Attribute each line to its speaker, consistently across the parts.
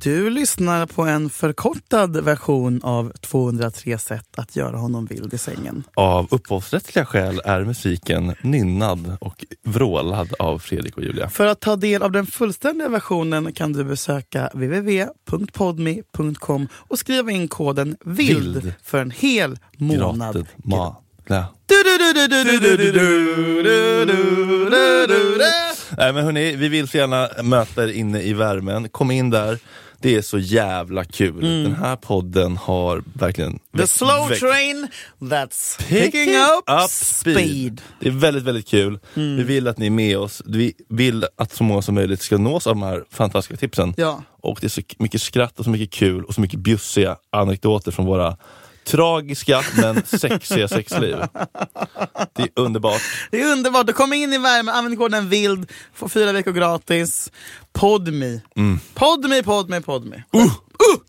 Speaker 1: Du lyssnar på en förkortad version av 203 sätt att göra honom vild i sängen.
Speaker 2: Av upphovsrättsliga skäl är musiken nynnad och vrålad av Fredrik och Julia.
Speaker 1: För att ta del av den fullständiga versionen kan du besöka www.podme.com och skriva in koden VILD,
Speaker 2: Vild.
Speaker 1: för en hel månad.
Speaker 2: Gratis. Ma- lä.
Speaker 1: Du, du, du, du, du, du, du, du, du, du, du, du, du.
Speaker 2: Nej men hörni, vi vill så gärna möta er inne i värmen. Kom in där. Det är så jävla kul. Den här podden har verkligen
Speaker 1: Mm. The
Speaker 2: växt-
Speaker 1: slow
Speaker 2: växt-
Speaker 1: train that's picking up, speed.
Speaker 2: Det är väldigt, väldigt kul.
Speaker 1: Mm.
Speaker 2: Vi vill att ni är med oss. Vi vill att så många som möjligt ska nås av de här fantastiska tipsen.
Speaker 1: Ja.
Speaker 2: Och det är så mycket skratt och så mycket kul och så mycket bjussiga anekdoter från våra tragiska men sexiga sexliv. Det är underbart.
Speaker 1: Det är underbart. Du kommer in i värmen, använd koden VILD, får fyra veckor gratis. Podmi. Mm. Podmi, podmi, podmi.
Speaker 2: Oh.
Speaker 1: Uh.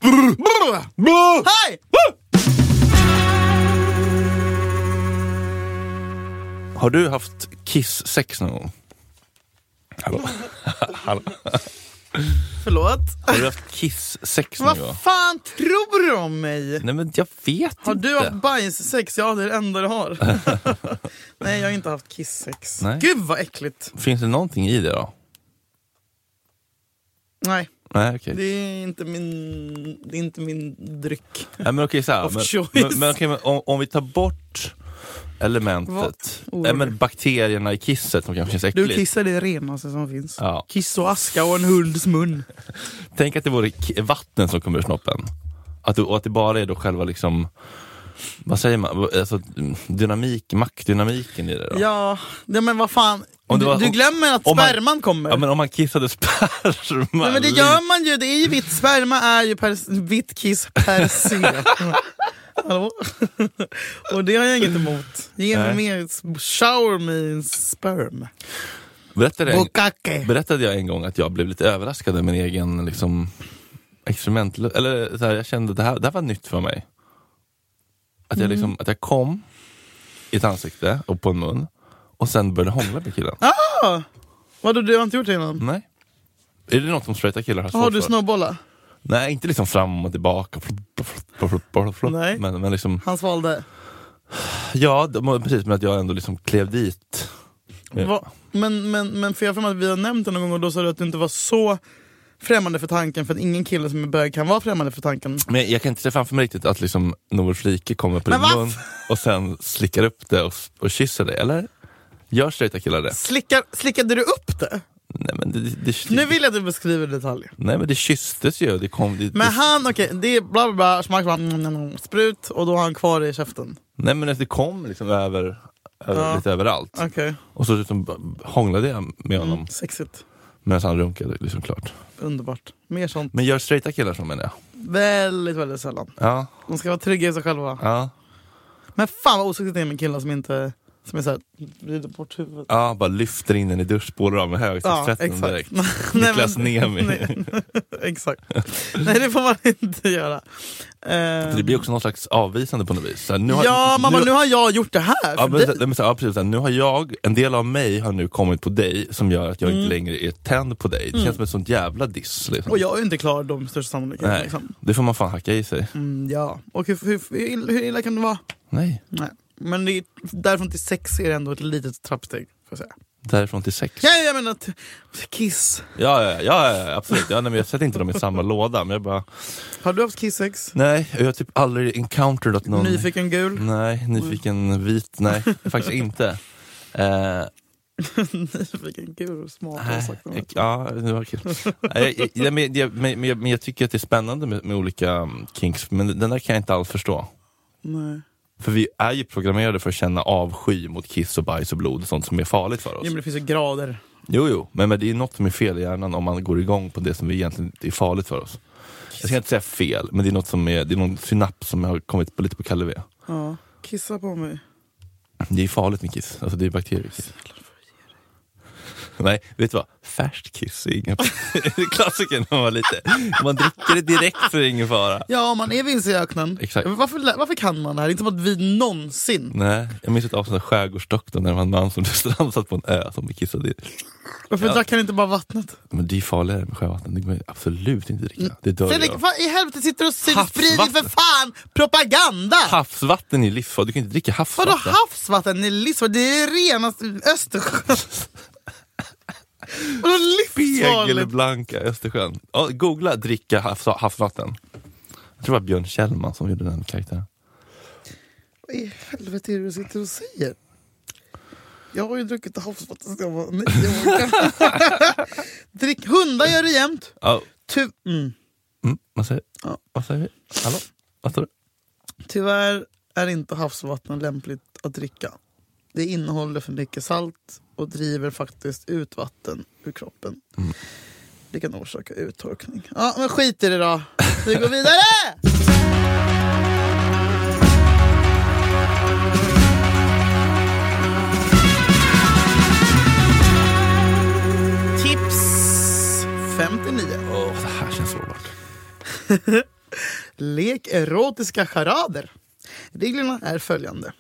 Speaker 1: Uh. Brr. Hej!
Speaker 2: Har du haft kiss-sex någon gång? Hallå? Hallå?
Speaker 1: Förlåt.
Speaker 2: Har du haft kiss-sex någon gång?
Speaker 1: Vad fan tror du om mig?
Speaker 2: Nej men jag vet
Speaker 1: Har
Speaker 2: inte.
Speaker 1: du haft bajssex? Ja, det är det enda du har. Nej, jag har inte haft kissex.
Speaker 2: Nej.
Speaker 1: Gud vad äckligt.
Speaker 2: Finns det någonting i det då?
Speaker 1: Nej,
Speaker 2: Nej okej.
Speaker 1: det är inte min, det är inte min dryck.
Speaker 2: Nej, men okej, så här,
Speaker 1: Of
Speaker 2: men,
Speaker 1: choice.
Speaker 2: men, men, okej, men om, om vi tar bort
Speaker 1: Vad
Speaker 2: elementet,
Speaker 1: ord.
Speaker 2: Nej, men bakterierna i kisset som kanske känns äckligt.
Speaker 1: Du kissar det renaste som finns.
Speaker 2: Ja.
Speaker 1: Kiss och aska och en hunds mun.
Speaker 2: Tänk att det vore k- vatten som kommer ur snoppen. Att, du- och att det bara är då själva liksom, vad säger man, alltså, dynamik, maktdynamiken i det då.
Speaker 1: Ja, ja men vad fan.
Speaker 2: Om det
Speaker 1: Du-
Speaker 2: var-
Speaker 1: du glömmer att
Speaker 2: om man-
Speaker 1: sperman kommer.
Speaker 2: Ja, men om man kissade sperma.
Speaker 1: Nej, men det gör man ju, det är ju vitt. Sperma är ju per, vitt kiss per se. Hallå? Och det har jag inget emot. Ge mig
Speaker 2: Nej.
Speaker 1: mer, shower me in sperm.
Speaker 2: berättade, jag,
Speaker 1: Bukake.
Speaker 2: berättade jag en gång att jag blev lite överraskad av min egen liksom, experiment, eller så här, jag kände att det här, det här var nytt för mig. Att
Speaker 1: Mm.
Speaker 2: jag, liksom, att jag kom i ett ansikte och på en mun och sen började hångla med killen.
Speaker 1: Vadå, du har inte gjort det innan?
Speaker 2: Nej. Är det något som straighta killar har
Speaker 1: Har
Speaker 2: svårt
Speaker 1: du
Speaker 2: för?
Speaker 1: snowbollat?
Speaker 2: Nej, inte liksom fram och tillbaka. Flopp, flopp, flopp, flopp, flopp.
Speaker 1: Nej.
Speaker 2: Men, men liksom,
Speaker 1: Han svalde.
Speaker 2: ja, det- men precis. Men att jag ändå liksom klev dit. Ja.
Speaker 1: Va? Men, men, men för jag har för mig att vi har nämnt det någon gång och då sa du att du inte var så främmande för tanken för att ingen kille som är bög kan vara främmande för tanken.
Speaker 2: Men jag kan inte se framför mig riktigt att liksom Noel Flike kommer på
Speaker 1: Men
Speaker 2: din
Speaker 1: vad
Speaker 2: mun och sen slickar upp det och, och kysser det, eller? Gör straighta killar det?
Speaker 1: Slickar, slickade du upp det?
Speaker 2: Nej men det, det, det,
Speaker 1: Nu vill jag att du beskriver detaljer.
Speaker 2: nej, men det kysstes ju. Det kom, det,
Speaker 1: Men
Speaker 2: det,
Speaker 1: han, okej, det är bla bla bla, smak, smak, mm, mm, mm, sprut och då har han kvar det i käften.
Speaker 2: nej, men det kom liksom över, över
Speaker 1: Ja.
Speaker 2: lite överallt.
Speaker 1: Okej,
Speaker 2: Och så liksom hånglade jag med honom
Speaker 1: mm, sexigt.
Speaker 2: medan han runkade. Liksom, klart.
Speaker 1: Underbart. Mer sånt.
Speaker 2: Men gör straighta killar så menar jag.
Speaker 1: Väldigt, väldigt sällan.
Speaker 2: Ja,
Speaker 1: De ska vara trygga i sig själva.
Speaker 2: ja.
Speaker 1: Men fan vad osexigt det är med killar som inte som är såhär, vrider bort huvudet.
Speaker 2: Ja, bara lyfter in den i duschspåret av med högtryckstvätten direkt.
Speaker 1: Nej,
Speaker 2: Niklas
Speaker 1: men-
Speaker 2: Niemi.
Speaker 1: Nej, exakt. Nej det får man inte göra. Eh,
Speaker 2: Det blir också någon slags avvisande på något vis. Så här, nu har,
Speaker 1: ja mamma nu har jag gjort det här
Speaker 2: Ja,
Speaker 1: för
Speaker 2: men,
Speaker 1: dig.
Speaker 2: så- nej, men, så- ja, precis, så här, nu har jag, en del av mig har nu kommit på dig som gör att jag inte längre är tänd på dig. Det känns som ett sånt jävla diss. Liksom.
Speaker 1: Mm. Och jag är ju inte klar de största sannolikheterna.
Speaker 2: Nej,
Speaker 1: Liksom.
Speaker 2: det får man fan hacka i sig.
Speaker 1: Mm, ja. Och hur, hur, hur, illa, hur illa kan det vara?
Speaker 2: Nej,
Speaker 1: Nej. Men det är, därifrån till sex är det ändå ett litet trappsteg. Får jag, säga.
Speaker 2: därifrån till sex.
Speaker 1: Ja, jag menar att kiss.
Speaker 2: Ja, ja, ja, ja absolut. Ja, nej, men jag sätter inte dem i samma låda. Men jag bara,
Speaker 1: Har du haft kissex?
Speaker 2: nej, jag har typ aldrig encountered att någon...
Speaker 1: Nyfiken gul?
Speaker 2: Nej, nyfiken vit. Nej, faktiskt inte. Eh,
Speaker 1: Nyfiken gul och smart har jag
Speaker 2: Nej,
Speaker 1: sagt.
Speaker 2: jag- Ja, det var kul. Nej, jag- jag- men jag- men- men jag- men jag tycker att det är spännande med, med olika mm, kinks, men den där kan jag inte alls förstå.
Speaker 1: Nej.
Speaker 2: För vi är ju programmerade för att känna avsky mot kiss och bajs och blod och sånt som är farligt för
Speaker 1: Jo,
Speaker 2: oss.
Speaker 1: men det finns ju grader.
Speaker 2: Jo, jo, men, men det är något som är fel i hjärnan om man går igång på det som vi egentligen är farligt för oss. Jag ska inte säga fel, men det är något som är, det är någon synaps som har kommit på, lite på kalle V.
Speaker 1: Ja. Kissa på mig.
Speaker 2: Det är farligt med kiss, alltså det är bakterier i kiss. Nej, vet du vad? Färsk kiss är ingen Klassikern när man var liten. Man dricker det direkt för det är ingen fara.
Speaker 1: Ja, om man är vilse i öknen.
Speaker 2: Exakt. Mm.
Speaker 1: Varför, lä- varför kan man det här? Det är Inte som att vi någonsin...
Speaker 2: Nej, jag minns ett avsnitt av Skärgårdsdoktorn när det var en man som blev strandsatt på en ö som blev kissad i.
Speaker 1: Varför
Speaker 2: Ja.
Speaker 1: drack han inte bara vattnet?
Speaker 2: Men det är ju farligare med sjövatten, det går ju absolut inte att dricka. Det dör ju
Speaker 1: Mm. Fredrik,
Speaker 2: av.
Speaker 1: vad i helvete sitter du och sprider
Speaker 2: Havsvatten.
Speaker 1: för fan propaganda?
Speaker 2: Havsvatten är livsfarligt, du kan inte dricka
Speaker 1: Vadå
Speaker 2: havsvatten.
Speaker 1: havsvatten? Det är livsfarligt. Det är renaste Östersjön. Vadå livsfarligt?
Speaker 2: Spegelblanka Östersjön. Ja, googla dricka havs, havsvatten. Jag tror det var Björn Kjellman som gjorde den karaktären.
Speaker 1: Vad i helvete är det du sitter och säger? Jag har ju druckit havsvatten sedan jag var nio år gammal. Drick, hundar gör det jämt.
Speaker 2: Ja,
Speaker 1: Ty- mm.
Speaker 2: mm, vad, säger,
Speaker 1: Ja.
Speaker 2: vad säger vi? Hallå? Vad står det?
Speaker 1: Tyvärr är inte havsvatten lämpligt att dricka. Det innehåller för mycket salt och driver faktiskt ut vatten ur kroppen. Det kan orsaka uttorkning. Ja, men skit i det då. Vi går vidare! Tips 59.
Speaker 2: Åh, det här känns sårbart.
Speaker 1: Lek erotiska charader. Reglerna är följande.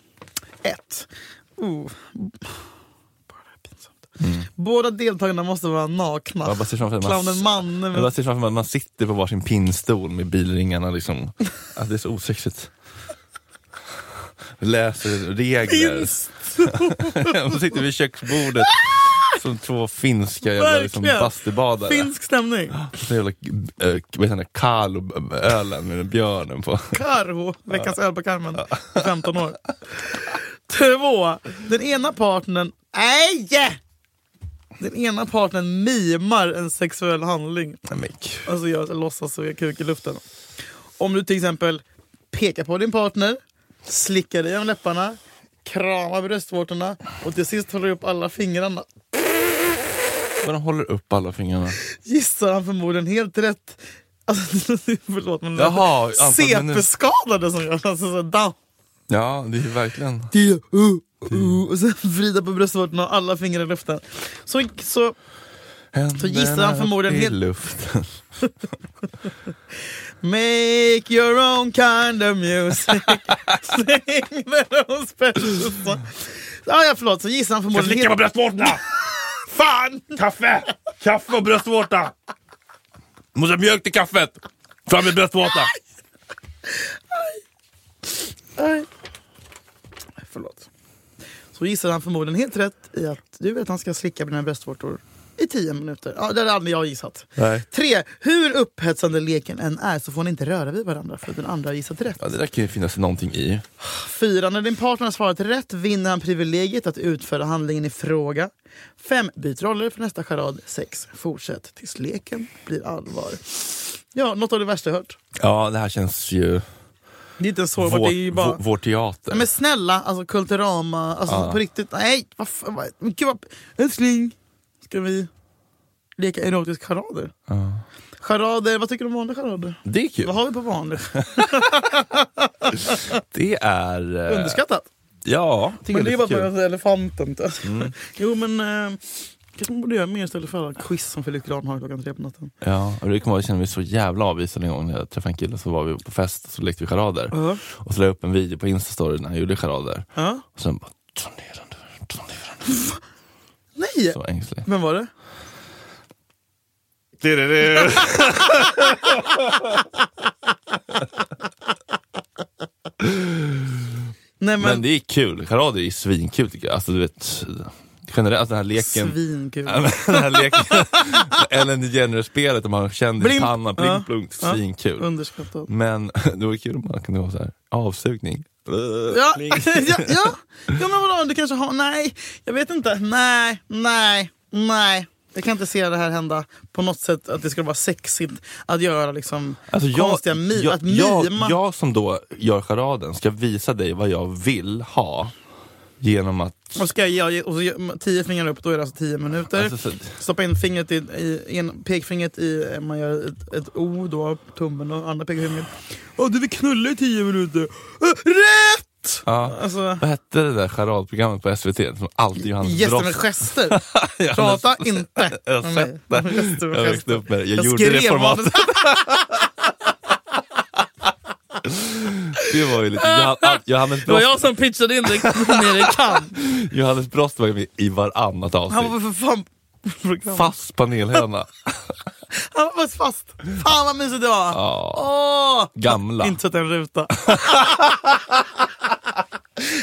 Speaker 1: 1. Oh. Bara det här är pinsamt. Båda deltagarna måste vara nakna.
Speaker 2: Mm. Jag bara ser framför mig-
Speaker 1: Clownen Manne
Speaker 2: Jag bara ser framför mig att man sitter på varsin pinnstol med bilringarna liksom. Att det är så osexigt. Läser regler. Man sitter vid köksbordet som två finska jävla liksom,
Speaker 1: Verkligen.
Speaker 2: bastubadare.
Speaker 1: Finsk stämning.
Speaker 2: Och så jävla, äh, vad heter det, Kalo-ölen med den björnen på.
Speaker 1: Karho,
Speaker 2: Ah.
Speaker 1: veckans öl på karmen. 15 år. Två. Den ena partnern... Nej! Den ena partnern mimar en sexuell handling.
Speaker 2: Nej, men gud.
Speaker 1: Alltså jag låtsas och jag kuk i luften. Om du till exempel pekar på din partner, slickar dig om läpparna, kramar bröstvårtorna och till sist håller du upp alla fingrarna.
Speaker 2: Men de håller upp alla fingrarna.
Speaker 1: Gissar han förmodligen helt rätt. Alltså, förlåt men
Speaker 2: Jaha, antal minuter.
Speaker 1: CP-skadade som gör alltså, så down.
Speaker 2: Ja, det är ju verkligen...
Speaker 1: Uh, uh, och sen vrida på bröstvårtorna och alla fingrar i luften. Så, så
Speaker 2: Så
Speaker 1: gissar han förmodligen
Speaker 2: i
Speaker 1: helt-
Speaker 2: luften.
Speaker 1: Make your own kind of music. Sing their own special song. Ja, ja, förlåt. Så gissar han förmodligen... helt-
Speaker 2: bröstvårtorna!
Speaker 1: Fan!
Speaker 2: Kaffe! Kaffe och bröstvårta! Måste ha mjölk till kaffet! Fram med bröstvårta!
Speaker 1: Nej. Förlåt. Så gissar han förmodligen helt rätt i att du vet att han ska slicka på dina bröstvårtor i tio minuter. Ja, det hade aldrig jag gissat.
Speaker 2: Nej.
Speaker 1: Tre. Hur upphetsande leken än är så får ni inte röra vid varandra för att den andra har gissat rätt.
Speaker 2: Ja, det där kan ju finnas någonting i.
Speaker 1: Fyra. När din partner har svarat rätt vinner han privilegiet att utföra handlingen i fråga. Fem. Byt roller för nästa charad. Sex. Fortsätt tills leken blir allvar. Ja, något av det värsta jag hört.
Speaker 2: Ja, det här känns ju...
Speaker 1: Det är inte ens sårbart,
Speaker 2: Vår,
Speaker 1: det är ju bara...
Speaker 2: vår, vår teater.
Speaker 1: Nej, Men snälla, alltså Kulturama, alltså på riktigt. Nej, vad fan. vad- men Gud, vad, älskling, ska vi leka erotisk charader?
Speaker 2: Ja.
Speaker 1: Charader, vad tycker du om vanliga charader?
Speaker 2: Det är kul.
Speaker 1: Vad har vi på vanligt?
Speaker 2: Det är... eh,
Speaker 1: Underskattat.
Speaker 2: Ja, jag tycker
Speaker 1: Men det är bara
Speaker 2: lite
Speaker 1: för
Speaker 2: kul. Mm.
Speaker 1: att elefanten. inte- jo men, eh, kanske man borde göra mer istället för alla quiz som Filip Gran har klockan tre på natten.
Speaker 2: Ja, och det kommer jag ihåg, jag kände mig så jävla avvisad en gång när jag träffade en kille så var vi på fest och så lekte vi charader.
Speaker 1: Ja.
Speaker 2: Och så la jag upp en video på instastory när han gjorde charader.
Speaker 1: Ja.
Speaker 2: Och sen bara ta ner den där, ta ner den
Speaker 1: Nej!
Speaker 2: där. Så var jag ängslig.
Speaker 1: Vem var det? Nej men,
Speaker 2: Men det är kul, charader är svinkul tycker jag. Alltså du vet, generellt alltså, den här leken.
Speaker 1: svinkul.
Speaker 2: Ja, men den här leken. Ellen DeGeneres-spelet, man kände i
Speaker 1: Blimp.
Speaker 2: pannan,
Speaker 1: Ja.
Speaker 2: pling plong,
Speaker 1: Ja.
Speaker 2: svinkul.
Speaker 1: Underskattat.
Speaker 2: Men det vore kul om man kunde ha så här avsugning.
Speaker 1: Ja,
Speaker 2: Pling.
Speaker 1: ja, ja. ja men vadå, du kanske har... Nej, jag vet inte. Nej, nej, nej. Jag kan inte se det här hända på något sätt, att det skulle vara sexigt att göra liksom
Speaker 2: Alltså jag,
Speaker 1: konstiga mi-
Speaker 2: jag,
Speaker 1: att
Speaker 2: jag,
Speaker 1: mima.
Speaker 2: jag som då gör charaden ska visa dig vad jag vill ha genom att...
Speaker 1: Och ska jag ge, och så, gör- tio fingrar upp, då är det alltså tio minuter.
Speaker 2: Alltså, så,
Speaker 1: Stoppa in fingret i, i en, pekfingret i, eh, man gör ett, ett O då, tummen och andra pekfingret. Åh, du vill knulla i tio minuter. Äh, Rätt! nytt.
Speaker 2: Ja.
Speaker 1: Alltså,
Speaker 2: Vad hette det där charadprogrammet på SVT som alltid Johannes
Speaker 1: gäster med
Speaker 2: Brost-
Speaker 1: gester.
Speaker 2: Johannes-
Speaker 1: Prata inte med
Speaker 2: Jag har
Speaker 1: mig.
Speaker 2: sett det.
Speaker 1: Gäster med
Speaker 2: Jag växte
Speaker 1: gester.
Speaker 2: upp med det. Jag,
Speaker 1: Jag
Speaker 2: gjorde det
Speaker 1: skrev
Speaker 2: formatet.
Speaker 1: manus.
Speaker 2: Det var ju lite... Johan- ah, Johannes,
Speaker 1: Det var
Speaker 2: Brost,
Speaker 1: jag som pitchade in det nere i Cannes.
Speaker 2: Johannes Brost var ju med i varannat
Speaker 1: Han var
Speaker 2: avsnitt.
Speaker 1: för fan... Program.
Speaker 2: Fast panelhöna.
Speaker 1: Han var faktiskt fast. Fan vad mysigt det var. Åh!
Speaker 2: Gamla.
Speaker 1: Inte sett en ruta.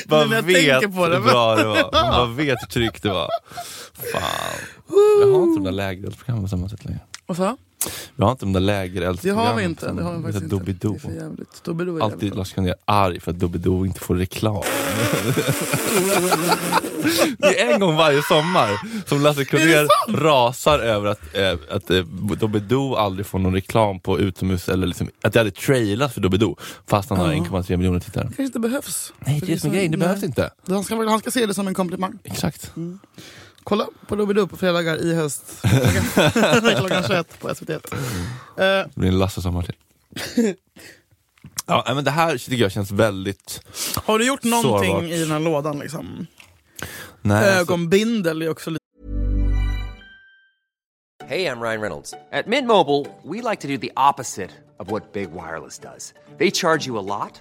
Speaker 2: Man
Speaker 1: när jag tänker
Speaker 2: vet
Speaker 1: på det,
Speaker 2: hur bra det var. Man vet hur tryggt det var. Fan. Jag har inte de där lägereldsprogrammen på samma sätt längre.
Speaker 1: Vad sa jag?
Speaker 2: Vi har inte de där
Speaker 1: Det
Speaker 2: lägereldsprogrammen.
Speaker 1: har vi inte. Det har vi faktiskt inte. Det
Speaker 2: Doobidoo.
Speaker 1: är för jävligt. Doobidoo är
Speaker 2: Alltid
Speaker 1: jävligt bra.
Speaker 2: Lars Kronér arg för att Doobidoo inte får reklam. det är en gång varje sommar som Lasse Kronér rasar över att, eh, att eh, Doobidoo aldrig får någon reklam på utomhus, eller liksom, att det hade trailat för Doobidoo fast han har 1,3 miljoner tittare.
Speaker 1: kanske inte behövs.
Speaker 2: Nej, det är det som är grejen, det
Speaker 1: Nej.
Speaker 2: behövs inte.
Speaker 1: Han ska, väl- han ska se det som en komplimang.
Speaker 2: Exakt.
Speaker 1: Kolla på Doobidoo på fredagar i höst. Klockan 21 på SVT. Eh,
Speaker 2: Det blir en Lasse sommar till. ja, nej, men det här tycker jag känns väldigt...
Speaker 1: har du gjort någonting
Speaker 2: Sårbart.
Speaker 1: i den här lådan? Liksom?
Speaker 2: Nej, alltså,
Speaker 1: Ögonbindel är också lite...
Speaker 3: Hey, I'm Ryan Reynolds. At Mint Mobile, we like to do the opposite of what Big Wireless does. They charge you a lot,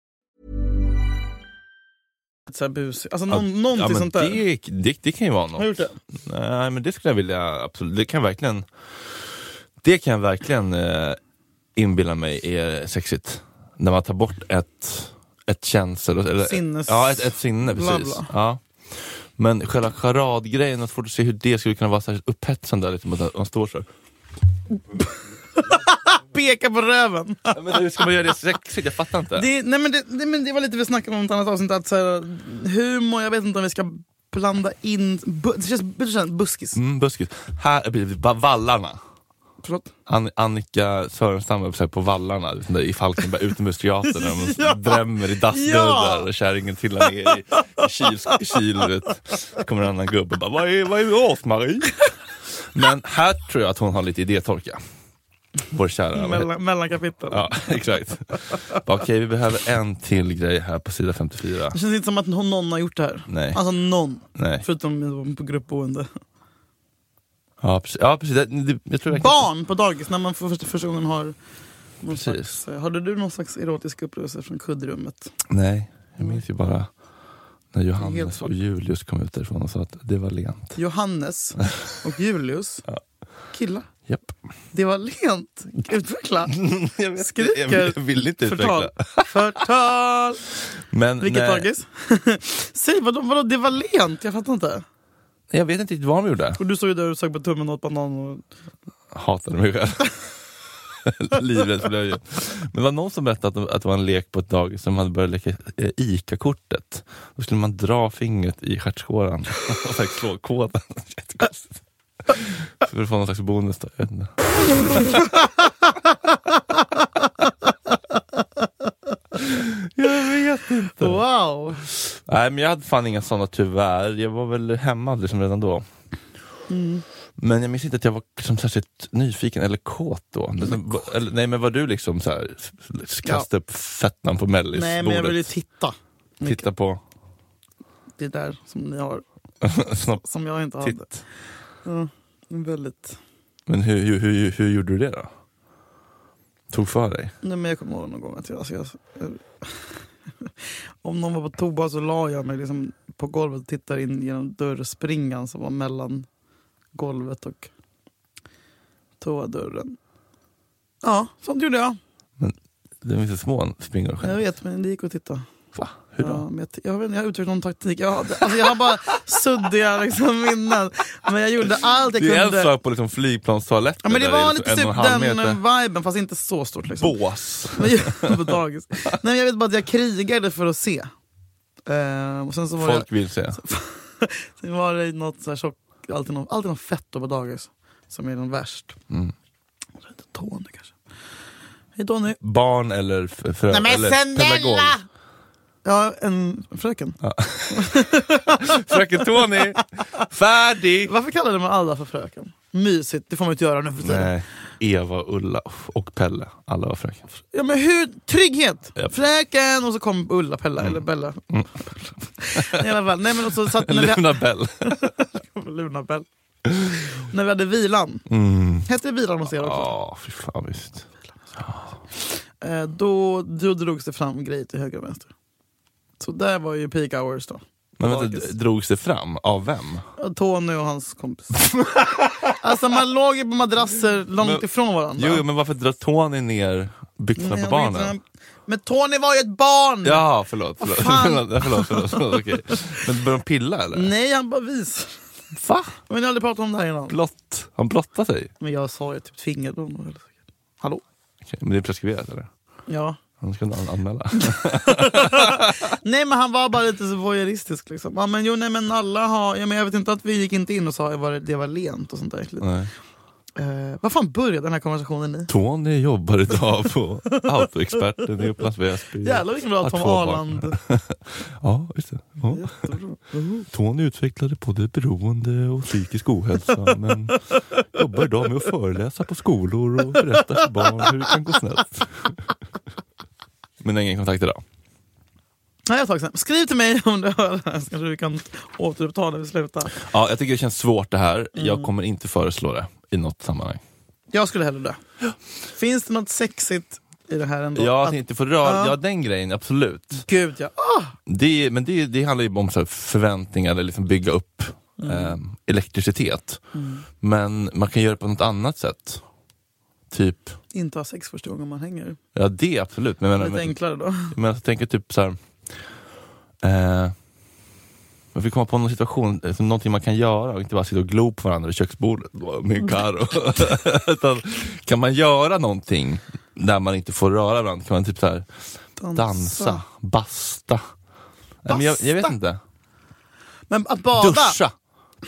Speaker 1: Så här busig. Alltså,
Speaker 2: ja,
Speaker 1: någon,
Speaker 2: ja,
Speaker 1: någonting
Speaker 2: men
Speaker 1: sånt där.
Speaker 2: Det, det, det kan ju vara något.
Speaker 1: Har du gjort det?
Speaker 2: Nej, men det skulle jag vilja, absolut. Det kan jag verkligen, det kan jag verkligen eh, inbilla mig är sexigt. När man tar bort ett, ett känsel... Eller,
Speaker 1: Sinnes-
Speaker 2: Ja, ett, ett sinne,
Speaker 1: bla,
Speaker 2: precis.
Speaker 1: bla.
Speaker 2: Ja. Men själva charadgrejen, jag har svårt att se hur det skulle kunna vara särskilt upphetsande, liksom, att man står så. här.
Speaker 1: Peka på röven.
Speaker 2: Ja, Men hur ska man göra det sexigt? Jag fattar inte.
Speaker 1: Det, nej, men det, det, men det var lite vi snackade om i ett annat avsnitt. Att så här, humor, jag vet inte om vi ska blanda in... Bu, det, känns, det känns buskis.
Speaker 2: Mm, buskis. Här blir det bara vallarna.
Speaker 1: Förlåt?
Speaker 2: An- Annika Sörenstam var så här på vallarna liksom där i Falkenberg, utomhusteatern, när de
Speaker 1: Ja.
Speaker 2: drämmer i dassdörrar
Speaker 1: Ja.
Speaker 2: och kärringen trillar ner i, i kyls, kylet. Så kommer en annan gubbe och bara, vad är, vad är Ås-Marie? Men här tror jag att hon har lite idétorka. Vår kära... vad heter-
Speaker 1: Mellan, mellan kapitel.
Speaker 2: Ja, exakt. Bara, Okej, vi behöver en till grej här på sida 54.
Speaker 1: Det känns inte som att någon någon har gjort det här.
Speaker 2: Nej.
Speaker 1: Alltså någon.
Speaker 2: Nej.
Speaker 1: Förutom på gruppboende.
Speaker 2: Ja, precis. Ja, precis. Det, det, jag tror verkligen-
Speaker 1: Barn på dagis, när man för första, första gången har... Någon
Speaker 2: Precis.
Speaker 1: slags, eh, hade du någon slags erotisk upplevelse från kuddrummet?
Speaker 2: Nej, jag minns ju bara när
Speaker 1: Helt
Speaker 2: Johannes
Speaker 1: svart.
Speaker 2: och Julius kom ut därifrån och sa att det var lent.
Speaker 1: Johannes och Julius, killar.
Speaker 2: Japp.
Speaker 1: Det var lent. Utveckla. Skriker.
Speaker 2: Jag vill inte
Speaker 1: Förtal.
Speaker 2: utveckla.
Speaker 1: Förtal.
Speaker 2: Men,
Speaker 1: Vilket
Speaker 2: nej,
Speaker 1: dagis? Säg vadå, vadå, det var lent? Jag fattar inte.
Speaker 2: Jag vet inte riktigt vad de gjorde.
Speaker 1: Och du stod ju där och sög på tummen och åt banan. Och...
Speaker 2: Hatade mig själv. Livrädd för löjen. Men det var någon som berättade att de- att det var en lek på ett dagis som hade börjat leka eh, ICA-kortet. Då skulle man dra fingret i stjärtskåran och så här slå kådan. Jättekonstigt. För att få någon slags bonus då. Jag vet inte. Jag vet inte.
Speaker 1: Wow!
Speaker 2: Nej men jag hade fan inga sådana tyvärr. Jag var väl hemma liksom redan då.
Speaker 1: Mm.
Speaker 2: Men jag minns inte att jag var liksom särskilt nyfiken eller kåt då.
Speaker 1: Mm.
Speaker 2: Liksom, va- eller, nej men var du liksom så här, s- s- kastade upp fettan på
Speaker 1: Nej men jag ville ju
Speaker 2: mellisbordet?
Speaker 1: titta.
Speaker 2: Titta på...
Speaker 1: Det är där som ni har,
Speaker 2: Snabbt.
Speaker 1: som jag inte hade.
Speaker 2: Titt.
Speaker 1: Ja, väldigt...
Speaker 2: Men hur, hur, hur, hur gjorde du det då? Tog för dig?
Speaker 1: Nej, men jag kommer ihåg någon gång att jag... Alltså, jag om någon var på toa så la jag mig liksom på golvet och tittade in genom dörrspringan som var mellan golvet och toadörren. Ja, sånt gjorde jag.
Speaker 2: Det finns ju små springor
Speaker 1: Jag
Speaker 2: själv.
Speaker 1: vet, men det gick att titta.
Speaker 2: Va? Hur då?
Speaker 1: Ja, men jag, jag, vet, inte, jag har utvecklat någon taktik. Jag, har- alltså, jag har bara suddiga liksom, minnen. Men jag gjorde allt jag
Speaker 2: Det är en
Speaker 1: kunde.
Speaker 2: sak på liksom flygplanstoaletten.
Speaker 1: Ja, men det
Speaker 2: där
Speaker 1: var
Speaker 2: är
Speaker 1: lite
Speaker 2: liksom en och
Speaker 1: typ
Speaker 2: en halv
Speaker 1: den
Speaker 2: meter.
Speaker 1: viben, fast inte så stort. Liksom.
Speaker 2: Bås.
Speaker 1: Men jag, på dagis. Nej, men jag vet bara att jag krigade för att se. Eh, och sen så var, det,
Speaker 2: Folk vill se.
Speaker 1: sen var det något så här tjock, alltid någon, alltid någon fett då på dagis. som är den värst.
Speaker 2: Mm.
Speaker 1: Hon heter Tony kanske. Hej Tony.
Speaker 2: Barn eller f- frö...
Speaker 1: Nej, men
Speaker 2: eller
Speaker 1: snälla!
Speaker 2: pedagog.
Speaker 1: Ja, en fröken.
Speaker 2: Fröken Tony! Färdig!
Speaker 1: Varför kallade man alla för fröken? Mysigt, det får man inte göra nu för tiden.
Speaker 2: Nej. Eva, Ulla och Pelle. Alla var fröken.
Speaker 1: Ja, men hur, trygghet!
Speaker 2: Japp.
Speaker 1: Fröken! Och så kom Ulla, Pella,
Speaker 2: Mm.
Speaker 1: eller Bella. I alla fall. Nej, men och så satt när vi,
Speaker 2: Luna Bell.
Speaker 1: Luna Bell. när vi hade vilan,
Speaker 2: Mm.
Speaker 1: hette det vilan hos er också?
Speaker 2: Ja, fy fan visst.
Speaker 1: Eh, då, då drogs det fram grejer till höger och vänster. Så där var ju peak hours då.
Speaker 2: Men vänta,
Speaker 1: Dagis.
Speaker 2: d- drogs det fram? Av vem?
Speaker 1: Ja, Tony och hans kompis. alltså man låg ju på madrasser långt
Speaker 2: Men-
Speaker 1: ifrån varandra.
Speaker 2: Jo, jo, men varför drar Tony ner byxorna
Speaker 1: Nej,
Speaker 2: på
Speaker 1: jag vet
Speaker 2: barnen?
Speaker 1: inte. Men Tony var ju ett barn!
Speaker 2: Ja, förlåt. Förlåt,
Speaker 1: fan.
Speaker 2: förlåt, förlåt, förlåt, förlåt okej. Men började de pilla eller?
Speaker 1: Nej, han bara vis.
Speaker 2: Va?
Speaker 1: Men jag har aldrig pratat om det här innan.
Speaker 2: Blott. Han blottade sig?
Speaker 1: Men jag sa ju typ tvingade honom. eller säkert. Hallå?
Speaker 2: Okej, men det är preskriberat eller?
Speaker 1: Ja.
Speaker 2: Han ska an- anmäla.
Speaker 1: Nej men han var bara lite så voyeuristisk liksom. Ja, men jo nej men alla har, ja, men jag vet inte att vi gick inte in och sa att det var lent och sånt där äckligt.
Speaker 2: Nej.
Speaker 1: Eh, vad fan började den här konversationen i?
Speaker 2: Tony jobbar idag på Autoexperten i Upplands Väsby.
Speaker 1: Jävlar vilken bra
Speaker 2: Har
Speaker 1: Tom
Speaker 2: två barn.
Speaker 1: Arland.
Speaker 2: Ja, just det. Ja.
Speaker 1: Jättebra.
Speaker 2: Tony utvecklade både beroende och psykisk ohälsa men jobbar idag med att föreläsa på skolor och berätta för barn hur det kan gå snett. Men ingen kontakt idag.
Speaker 1: Nej, jag tar sen. Skriv till mig om du hör det här så kanske vi kan återuppta när vi slutar.
Speaker 2: Ja, jag tycker det känns svårt det här.
Speaker 1: Mm.
Speaker 2: Jag kommer inte föreslå det i något sammanhang.
Speaker 1: Jag skulle hellre dö. Finns det något sexigt i det här ändå?
Speaker 2: Jag
Speaker 1: Att-
Speaker 2: tänkte få röra,
Speaker 1: Ja.
Speaker 2: ja den grejen, absolut.
Speaker 1: Gud ja. Ah!
Speaker 2: Det, men det, det handlar ju om så här förväntningar, eller liksom bygga upp
Speaker 1: Mm.
Speaker 2: ehm, elektricitet. Men man kan göra det på något annat sätt. Typ,
Speaker 1: Inte ha sex första gången man hänger.
Speaker 2: ja det absolut. Men, jag menar-
Speaker 1: Lite
Speaker 2: men,
Speaker 1: enklare då.
Speaker 2: Men jag tänker typ så här. Eh, man fick komma på någon situation, eh, som någonting man kan göra och inte bara sitta och glo på varandra vid köksbordet med en Karo. Utan, kan man göra någonting där man inte får röra varandra? Kan man typ så här,
Speaker 1: Dansa.
Speaker 2: dansa, basta? Nej, men jag, jag vet
Speaker 1: Alltså. Basta?
Speaker 2: inte.
Speaker 1: Men att bada.
Speaker 2: Duscha!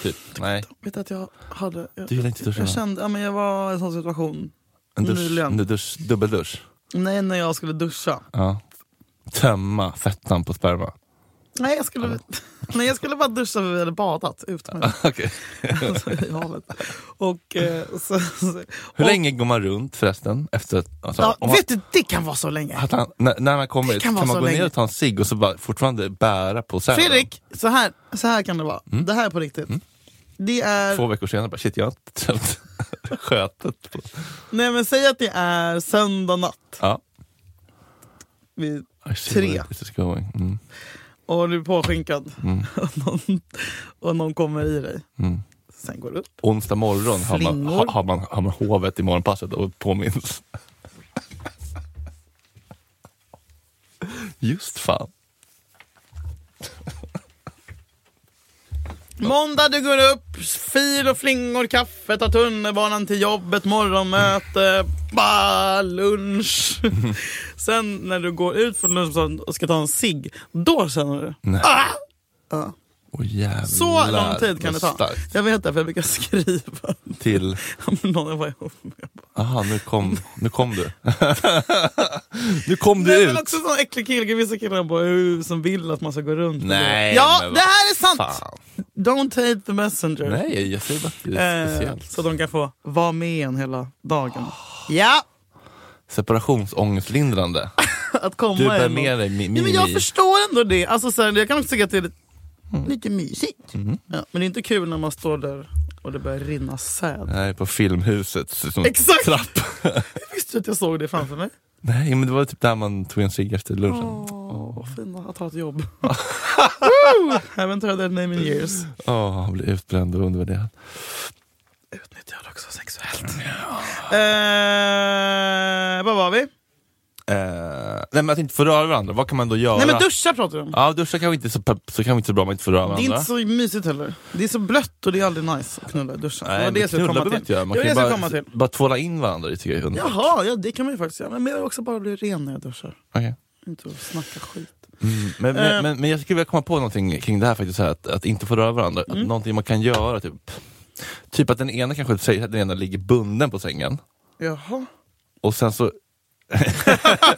Speaker 2: Typ. Nej,
Speaker 1: Vet du att jag hade... Jag,
Speaker 2: Du gillar inte duscha,
Speaker 1: jag
Speaker 2: va?
Speaker 1: kände, ja, men jag var i en sån situation.
Speaker 2: en dusch,
Speaker 1: Nyligen.
Speaker 2: en dusch, dubbeldusch.
Speaker 1: Nej, när jag skulle duscha.
Speaker 2: Ja. Tömma fettan på sperma.
Speaker 1: Nej, jag skulle, nej, jag skulle bara duscha för vi hade badat utomhus.
Speaker 2: Okej.
Speaker 1: alltså, i havet. Och, eh, så, så,
Speaker 2: Hur
Speaker 1: och,
Speaker 2: länge går man runt förresten? Efter, att- alltså,
Speaker 1: Ja,
Speaker 2: om man- Ah,
Speaker 1: vet du, det kan vara så länge.
Speaker 2: Att han, när, när han kommer
Speaker 1: Det
Speaker 2: hit,
Speaker 1: kan
Speaker 2: kan,
Speaker 1: vara
Speaker 2: man
Speaker 1: så
Speaker 2: gå
Speaker 1: länge.
Speaker 2: ner och ta en cigg och så bara, fortfarande bära på sen.
Speaker 1: Fredrik, så här, så här kan det vara. Det här är på riktigt. Det är,
Speaker 2: Mm. Två veckor senare bara, shit jag har inte tömt skötet. På.
Speaker 1: nej men säg att det är söndag natt
Speaker 2: Ja. Ah,
Speaker 1: vid,
Speaker 2: I see where
Speaker 1: Tre.
Speaker 2: this is going. Mm.
Speaker 1: och du är påskinkad
Speaker 2: Mm.
Speaker 1: och, någon, och någon kommer i dig.
Speaker 2: Mm.
Speaker 1: Sen går du upp.
Speaker 2: Onsdag morgon har man,
Speaker 1: Flingor.
Speaker 2: ha, har, man, har man hovet i morgonpasset och påminns. Just fan.
Speaker 1: Måndag du går upp, fil och flingor, kaffe, tar tunnelbanan till jobbet, morgonmöte, bah, lunch. Sen när du går ut från lunchen och ska ta en cigg, då känner du.
Speaker 2: Nej.
Speaker 1: Ah! Ja.
Speaker 2: Åh, jävlar,
Speaker 1: Så lång tid kan det
Speaker 2: vad
Speaker 1: ta.
Speaker 2: Mm, starkt.
Speaker 1: Jag vet det, för jag brukar skriva
Speaker 2: Till,
Speaker 1: om någon jag var ihop med.
Speaker 2: aha nu kom, nu kom du. nu kom du
Speaker 1: Nej,
Speaker 2: ut.
Speaker 1: men också sån äcklig kille, vissa killar bara, "Uh", som vill att man ska gå runt.
Speaker 2: Nej,
Speaker 1: ja,
Speaker 2: men
Speaker 1: det
Speaker 2: vad
Speaker 1: här är sant!
Speaker 2: Fan.
Speaker 1: Don't hate the messenger.
Speaker 2: Nej, jag säger bara att det är
Speaker 1: eh,
Speaker 2: speciellt. Ah.
Speaker 1: så de kan få vara med en hela dagen. Ja,
Speaker 2: Separationsångestlindrande.
Speaker 1: att komma
Speaker 2: Du bär
Speaker 1: är något-
Speaker 2: med dig mi-
Speaker 1: Ja, men jag
Speaker 2: Mimi.
Speaker 1: förstår ändå det. Alltså, så här, jag kan också tycka att det är lite, lite mysigt.
Speaker 2: Mhm.
Speaker 1: Ja, men det är inte kul när man står där och det börjar rinna säd.
Speaker 2: Nej, på Filmhuset. Som
Speaker 1: Exakt!
Speaker 2: Trapp.
Speaker 1: Visste du att jag såg det framför mig?
Speaker 2: Nej, men det var typ där man tog en cigg efter lunchen.
Speaker 1: Åh, vad fina att ha ett jobb. Woo! Haven't heard that name in years.
Speaker 2: Åh, han blev utbränd och undervärderad.
Speaker 1: Utnyttjar det också sexuellt. Eh, vad var vi?
Speaker 2: Eh, nej, men att inte få röra varandra. Vad kan man då göra?
Speaker 1: Nej men duscha pratar vi om.
Speaker 2: Ja, duscha kanske inte så, pepp- så kanske inte så bra om man inte får röra
Speaker 1: Det är
Speaker 2: varandra.
Speaker 1: inte så mysigt heller. Det är så blött och det är aldrig nice att knulla i duschen.
Speaker 2: Nej,
Speaker 1: det var det
Speaker 2: men
Speaker 1: jag skulle
Speaker 2: knulla
Speaker 1: komma
Speaker 2: behöver man
Speaker 1: till.
Speaker 2: inte göra. Man
Speaker 1: det var
Speaker 2: kan ju
Speaker 1: det jag
Speaker 2: bara,
Speaker 1: skulle komma till.
Speaker 2: bara tvåla in varandra, det tycker jag är hundra.
Speaker 1: Jaha, ja, det kan man ju faktiskt göra. Men jag vill också bara bli ren när jag duschar.
Speaker 2: Okej.
Speaker 1: Inte att snacka skit.
Speaker 2: Mm, men,
Speaker 1: Eh.
Speaker 2: men, men, men jag skulle vilja komma på någonting kring det här faktiskt, så här, att, att inte få röra varandra. Att någonting man kan göra, typ Typ att den ena kanske säger att den ena ligger bunden på sängen.
Speaker 1: Jaha.
Speaker 2: Och sen så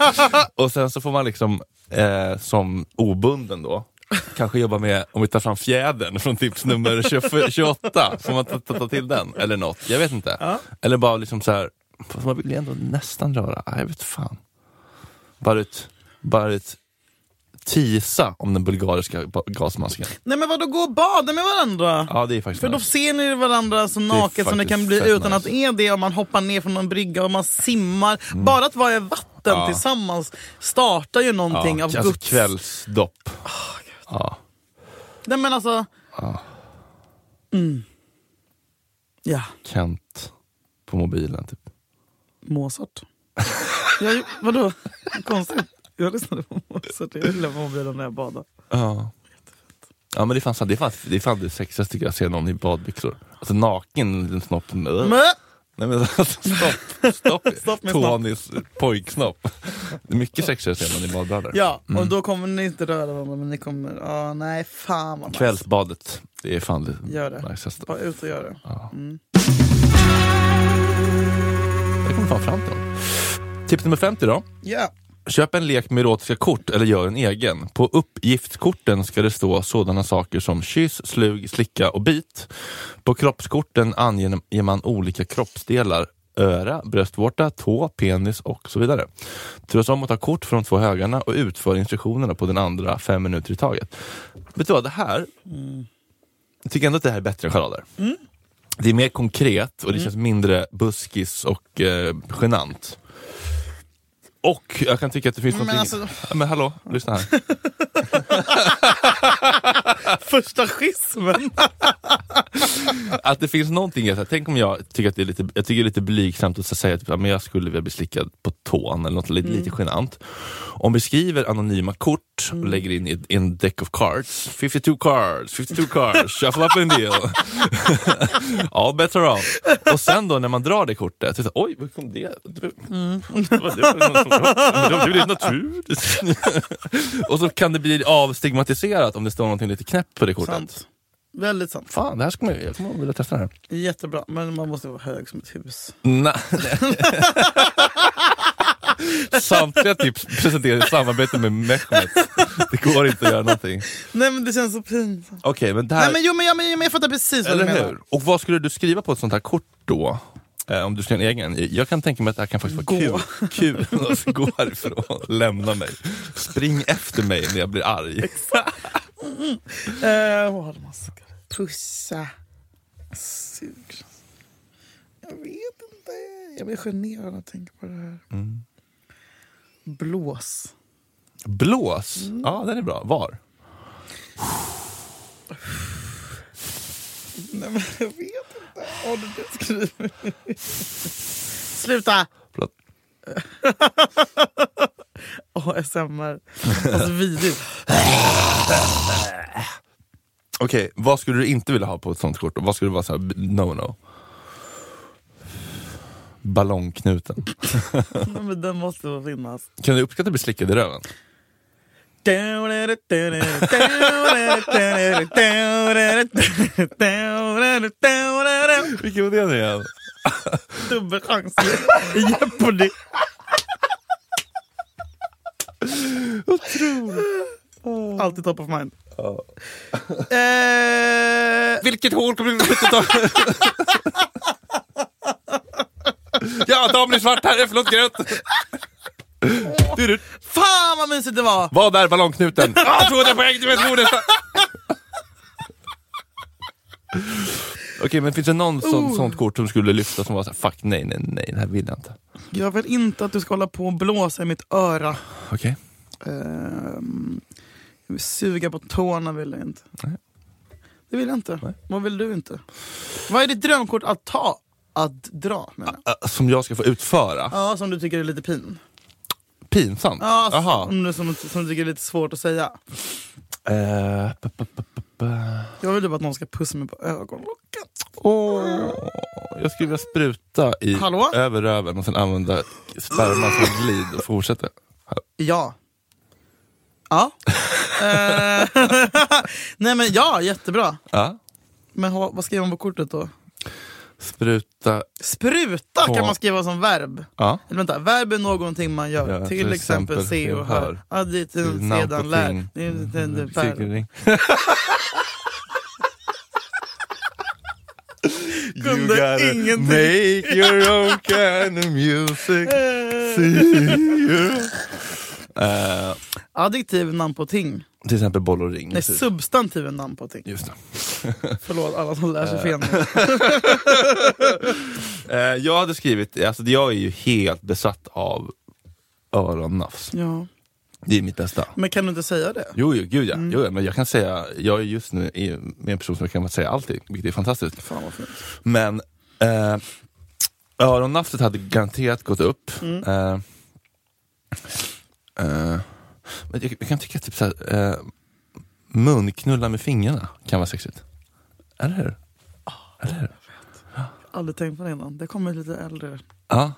Speaker 2: Och sen så får man liksom, eh, som obunden då, kanske jobba med, om vi tar fram fjädern från tips nummer 20 28, får man ta, ta, ta till den? Eller något, jag vet inte. Eller bara liksom så här, fast man vill ju ändå nästan röra, ah, jag vet fan. Bara ett, bara ett tisa om den bulgariska ba- gasmasken.
Speaker 1: Nej men vadå, gå och bada med varandra?
Speaker 2: Ja det är faktiskt
Speaker 1: För då
Speaker 2: nice.
Speaker 1: ser ni varandra så naket som det
Speaker 2: faktiskt
Speaker 1: kan bli
Speaker 2: fett
Speaker 1: utan
Speaker 2: nice. Mm.
Speaker 1: att det är det. Om man hoppar ner från någon brygga och man simmar. Bara att vara i vatten
Speaker 2: Ja.
Speaker 1: tillsammans startar ju någonting
Speaker 2: ja,
Speaker 1: av
Speaker 2: alltså
Speaker 1: Guds...
Speaker 2: kvällsdopp. ja.
Speaker 1: Nej men alltså... Mm. Ja,
Speaker 2: Kent på mobilen typ.
Speaker 1: Mozart. jag, vadå? Konstigt. Jag lyssnade på Mozart. Jag gillar mobilen när jag badar.
Speaker 2: Ja. Ja men det är fan, sant. det är fan, det, är fan det sexigaste tycker jag, att se någon i badbyxor. Alltså naken, liten snopp.
Speaker 1: Men,
Speaker 2: Nej men alltså, stopp, stopp.
Speaker 1: Stopp med snopp.
Speaker 2: Tonys pojksnopp. Det är mycket sexigare att se någon i badbrallor.
Speaker 1: ja,
Speaker 2: Mm.
Speaker 1: och då kommer ni inte röra varandra men ni kommer... Ja, nej fan vad nice.
Speaker 2: Kvällsbadet, det är fan det
Speaker 1: Gör det.
Speaker 2: najsaste.
Speaker 1: Bara ut och gör det.
Speaker 2: Det kommer fan fram till. Tips nummer 50 då.
Speaker 1: Ja.
Speaker 2: Köp en lek med erotiska kort eller gör en egen. På uppgiftskorten ska det stå sådana saker som kyss, slug, slicka och bit. På kroppskorten anger man olika kroppsdelar. Öra, bröstvårta, tå, penis och så vidare. Turas om att ta kort från de två högarna och utför instruktionerna på den andra fem minuter i taget. Vet du vad, det här... Jag tycker ändå att det här är bättre än charader. Det är mer konkret och det känns mindre buskis och eh, genant. Och jag kan tycka att det finns
Speaker 1: Men
Speaker 2: någonting... Men hallå, lyssna här.
Speaker 1: Första schismen.
Speaker 2: att det finns någonting, i det här. tänk om jag tycker att det är lite, jag tycker det är lite blygsamt att så säga typ, "Ja, men jag skulle vilja bli slickad på tån eller något lite, lite genant. Om vi skriver anonyma kort och lägger in i i en deck of cards, 52 cards, 52 cards, alltså, shuffle up and deal. All bets are off. Och sen då när man drar det kortet, så, är det så, oj, var kom det? Vad var det för någon som- Men de- Det blir naturligt. och så kan det bli avstigmatiserat om det står någonting lite knäppt på det kortet.
Speaker 1: Sant. Väldigt sant.
Speaker 2: Fan, det här ska man, jag kommer vilja testa det här.
Speaker 1: Jättebra, men man måste vara hög som ett hus.
Speaker 2: Nej. Samtliga tips presenteras i samarbete med Mehmet. Det går inte att göra någonting.
Speaker 1: Nej men det känns så pinsamt.
Speaker 2: Okej, men det här...
Speaker 1: Nej men jo men jag, men, jag, men jag fattar precis vad du
Speaker 2: eller
Speaker 1: menar.
Speaker 2: hur? Och vad skulle du skriva på ett sånt här kort då? Eh, om du ska göra en egen? Jag kan tänka mig att det här kan faktiskt vara
Speaker 1: Gå.
Speaker 2: kul. Kul att gå härifrån. Lämna mig. Spring efter mig när jag blir arg.
Speaker 1: Eh, vad hade man skrivit? Pussa. Sug. Jag vet inte. Jag blir generad när jag tänker på det här. Blås.
Speaker 2: Blås.
Speaker 1: Mm.
Speaker 2: Ja, den är bra. Var?
Speaker 1: Nej men jag vet inte. Har du det skrivit? Sluta!
Speaker 2: Förlåt.
Speaker 1: ASMR. Alltså vidrigt.
Speaker 2: Okej, vad skulle du inte vilja ha på ett sånt kort? då? Vad skulle vara såhär no-no? Ballongknuten.
Speaker 1: Nej, men den måste väl finnas.
Speaker 2: Kan du uppskatta att bli slickad i röven?
Speaker 1: Dubbelchans
Speaker 2: Vilken var det nu igen?
Speaker 1: i Jeopardy. Otroligt. Alltid top of mind. Eh,
Speaker 2: Vilket hål kommer du att Ja, damen i svart här, förlåt grönt! Du, du.
Speaker 1: fan vad mysigt det var!
Speaker 2: Vad är ballongknuten? Ah, 200 poäng, du vet ordet! Okej, men finns det någon sån,
Speaker 1: Oh.
Speaker 2: sånt kort som skulle lyfta som var såhär, fuck nej, nej, nej, det här vill jag inte.
Speaker 1: Jag vill inte att du ska hålla på och blåsa i mitt öra.
Speaker 2: Okej.
Speaker 1: Ehm, jag vill suga på tårna vill jag inte.
Speaker 2: Nej.
Speaker 1: Det vill jag inte.
Speaker 2: Nej.
Speaker 1: Vad vill du inte? Vad är ditt drömkort att ta? Att dra menar jag.
Speaker 2: Äh, Som jag ska få utföra?
Speaker 1: Ja, som du tycker är lite pin.
Speaker 2: Pinsamt?
Speaker 1: Ja, Mm.
Speaker 2: Jaha.
Speaker 1: som, du, som, som du tycker är lite svårt att säga.
Speaker 2: Eh, ba, ba, ba, ba, ba.
Speaker 1: Jag vill typ att någon ska pussa mig på ögonlocken.
Speaker 2: Åh, jag skulle vilja spruta i
Speaker 1: Hallå?
Speaker 2: över röven och sen använda sperman som glid och fortsätta.
Speaker 1: Ja. Ja. Eh, Nej men ja, jättebra.
Speaker 2: Ja.
Speaker 1: Men ha- vad skriver man på kortet då?
Speaker 2: Spruta...
Speaker 1: Spruta
Speaker 2: Ja.
Speaker 1: kan man skriva som verb.
Speaker 2: Ja.
Speaker 1: Eller vänta, verb är någonting man gör. till
Speaker 2: Ja, till
Speaker 1: exempel,
Speaker 2: exempel
Speaker 1: se och hör. Additiv
Speaker 2: Namn på
Speaker 1: sedan lär.
Speaker 2: ting. Mm.
Speaker 1: Det är inte en verb.
Speaker 2: Cirkelring.
Speaker 1: Kunde ingenting.
Speaker 2: make your own kind of music. Eh,
Speaker 1: Adjektiv är namn på ting.
Speaker 2: till exempel boll och ring. typ.
Speaker 1: Nej, substantiv är namn på ting.
Speaker 2: Just det.
Speaker 1: Förlåt alla som lär sig fel nu.
Speaker 2: Eh, jag hade skrivit, alltså jag är ju helt besatt av öronnafs.
Speaker 1: Ja.
Speaker 2: Det är mitt bästa.
Speaker 1: Men kan du inte säga det?
Speaker 2: Jo, jo, gud
Speaker 1: Mm.
Speaker 2: ja. Jo, ja. men jag kan säga, jag är just nu i- med en person som jag kan säga allting, vilket är fantastiskt.
Speaker 1: Fan vad fint.
Speaker 2: Men eh, öronnafset hade garanterat gått upp.
Speaker 1: Mm.
Speaker 2: Eh, eh, men jag, jag kan tycka typ såhär, eh, munknulla med fingrarna kan vara sexigt. Eller hur? Eller hur?
Speaker 1: Aldrig tänkt på det innan. Det kommer lite äldre.
Speaker 2: Ja.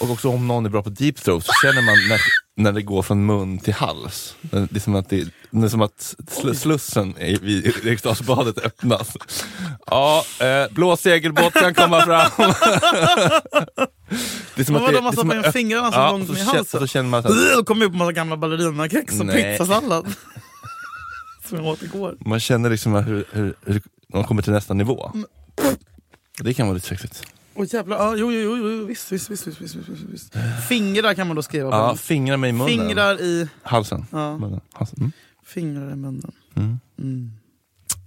Speaker 2: Och också om någon är bra på deep throat så känner man när, när det går från mun till hals. Det är som att, det, det är som att sl- slussen i, vid Eriksdalsbadet öppnas. Ja, eh, blå segelbåt kan komma fram. det är som
Speaker 1: Men
Speaker 2: att
Speaker 1: vadå,
Speaker 2: det, det är
Speaker 1: man
Speaker 2: som
Speaker 1: stoppar
Speaker 2: att
Speaker 1: in
Speaker 2: öpp-
Speaker 1: fingrarna så
Speaker 2: Ja,
Speaker 1: långt
Speaker 2: så
Speaker 1: ner i
Speaker 2: känner-
Speaker 1: halsen?
Speaker 2: så känner man att
Speaker 1: Då kommer upp en massa gamla ballerinakex och
Speaker 2: Nej.
Speaker 1: pizzasallad. Som jag åt igår.
Speaker 2: man känner liksom hur, hur, hur man kommer till nästa nivå.
Speaker 1: Mm.
Speaker 2: Det kan vara lite sexigt.
Speaker 1: Åh jävlar, ja, jo, jo, jo, jo, visst, visst, visst, visst, visst, visst, visst. Fingrar kan man då skriva på.
Speaker 2: Ja, fingrar mig i munnen.
Speaker 1: Fingrar i...
Speaker 2: Halsen.
Speaker 1: Ja.
Speaker 2: Munnen. Halsen. Mm.
Speaker 1: Fingrar i munnen.
Speaker 2: Mm.
Speaker 1: Mm.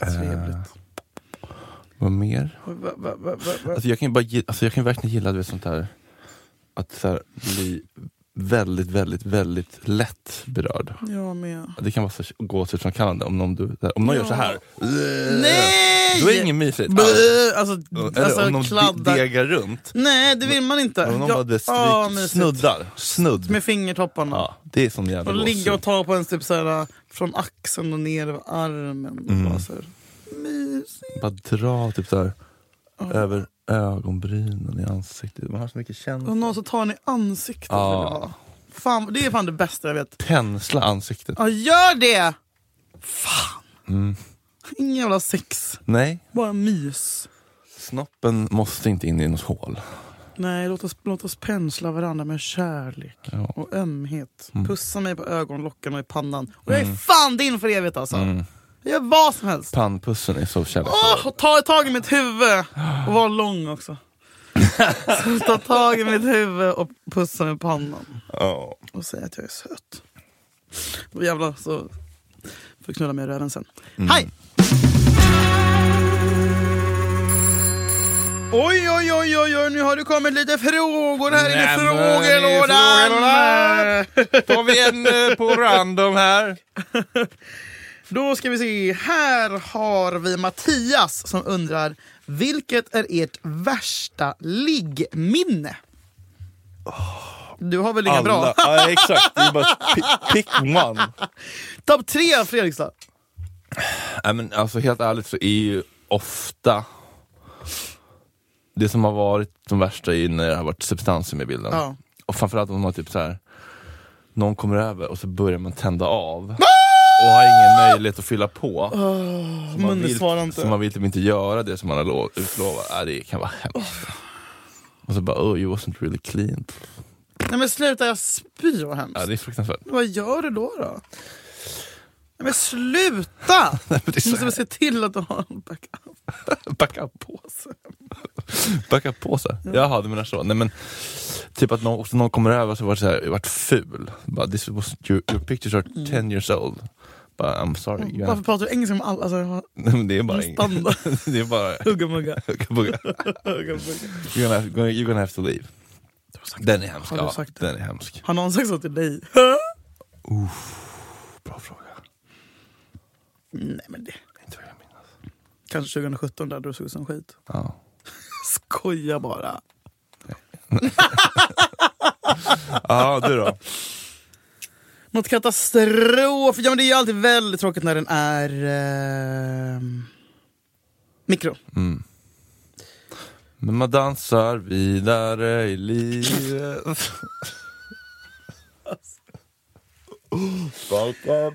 Speaker 2: Eh,
Speaker 1: Trevligt.
Speaker 2: vad mer?
Speaker 1: Oj, va, va, va, va, va.
Speaker 2: Alltså jag kan ju bara, gi- alltså jag kan verkligen gilla du vet, sånt där, att så här, bli väldigt, väldigt, väldigt lätt berörd.
Speaker 1: Jag med.
Speaker 2: Det kan vara så gåshudskramkallande om någon, du, där, om någon gör så här.
Speaker 1: Nej!
Speaker 2: Då är det inget mysigt
Speaker 1: Bö,
Speaker 2: alls.
Speaker 1: Alltså,
Speaker 2: Eller om
Speaker 1: alltså
Speaker 2: någon
Speaker 1: kladda.
Speaker 2: de- degar runt.
Speaker 1: Nej, det vill man inte.
Speaker 2: Om någon
Speaker 1: Ja,
Speaker 2: bara du,
Speaker 1: ah,
Speaker 2: stryk,
Speaker 1: mysigt.
Speaker 2: snuddar. Snudd.
Speaker 1: Med fingertopparna.
Speaker 2: ja, det är sån jävla
Speaker 1: Och ligga och
Speaker 2: gåshud.
Speaker 1: ta på en typ såhär, från axeln och ner över armen.
Speaker 2: Mm.
Speaker 1: Bara så här, mysigt.
Speaker 2: Bara dra typ så här, över ögonbrynen i ansiktet. Man har så mycket känsla.
Speaker 1: Och någon som tar en i ansiktet.
Speaker 2: Ja.
Speaker 1: vill jag ha. Fan, det är fan det bästa jag vet.
Speaker 2: Pensla ansiktet.
Speaker 1: Ja, gör det! Fan!
Speaker 2: Mm.
Speaker 1: Ingen jävla sex,
Speaker 2: Nej,
Speaker 1: bara mys.
Speaker 2: snoppen måste inte in i något hål.
Speaker 1: Nej, låt oss, låt oss pensla varandra med kärlek
Speaker 2: Ja. Mm.
Speaker 1: och ömhet. Pussa mig på ögonlocken och i pannan. Och jag är fan din för evigt alltså.
Speaker 2: Mm.
Speaker 1: Jag gör vad som helst.
Speaker 2: Pannpussen är så kärleksfull.
Speaker 1: Åh, och ta tag i mitt huvud! Och var lång också. Så ta tag i mitt huvud och pussa mig i pannan.
Speaker 2: Ja.
Speaker 1: Och säga att jag är söt. Och jävlar så får du knulla mig i röven sen. Hej! Oj, oj, oj, oj, oj, nu har det kommit lite frågor här inne i
Speaker 2: Nämen, i
Speaker 1: frågelådan.
Speaker 2: frågelådan. Tar vi en eh, på random här.
Speaker 1: Då ska vi se. Här har vi Mattias som undrar vilket är ert värsta liggminne? Du har väl inga bra?
Speaker 2: Ja, exakt, det är bara pi- pick one.
Speaker 1: Topp tre Fredrikstad.
Speaker 2: Nej, men alltså, helt ärligt så är ju ofta det som har varit de värsta är ju när det har varit substanser med i bilden.
Speaker 1: Ja.
Speaker 2: Och framförallt om man typ så här någon kommer över och så börjar man tända av
Speaker 1: Ah!
Speaker 2: och har ingen möjlighet att fylla på. Så man
Speaker 1: munnen svarar
Speaker 2: vill,
Speaker 1: inte.
Speaker 2: så man vill typ inte göra det som man har lov, utlovat. Äh, det kan vara hemskt. Och så bara oh you wasn't really clean.
Speaker 1: Nej men sluta, jag spyr vad
Speaker 2: Ja,
Speaker 1: hemskt.
Speaker 2: det är fruktansvärt.
Speaker 1: Vad gör du då? då? Nej, men sluta!
Speaker 2: men det är
Speaker 1: Du
Speaker 2: så
Speaker 1: måste
Speaker 2: här.
Speaker 1: väl se till att du har en backup.
Speaker 2: Backa på sig. Backa på sig? Jaha, du menar så. Nej, men, typ att någon, också någon kommer över och så var det så här, vart ful. Bara, This was, your, your pictures are
Speaker 1: Mm.
Speaker 2: 10 years old. Bara, I'm sorry. you
Speaker 1: Varför
Speaker 2: have-
Speaker 1: pratar du engelska om alla? Alltså, jag har
Speaker 2: Nej, men det är bara...
Speaker 1: en standard.
Speaker 2: det är bara...
Speaker 1: Hugga mugga. Hugga mugga.
Speaker 2: you're, gonna have, you're gonna have to leave. Den är hemsk.
Speaker 1: Har du
Speaker 2: Ja,
Speaker 1: sagt det?
Speaker 2: den är hemsk.
Speaker 1: Har någon sagt så till dig?
Speaker 2: Bra fråga.
Speaker 1: Nej men det...
Speaker 2: Inte vad jag minns.
Speaker 1: Kanske 2017 där du såg ut som skit.
Speaker 2: Ja.
Speaker 1: Skoja bara.
Speaker 2: Ja, du då?
Speaker 1: Något katastrof. Ja, men det är ju alltid väldigt tråkigt när den är eh, mikro.
Speaker 2: Men man dansar vidare i livet.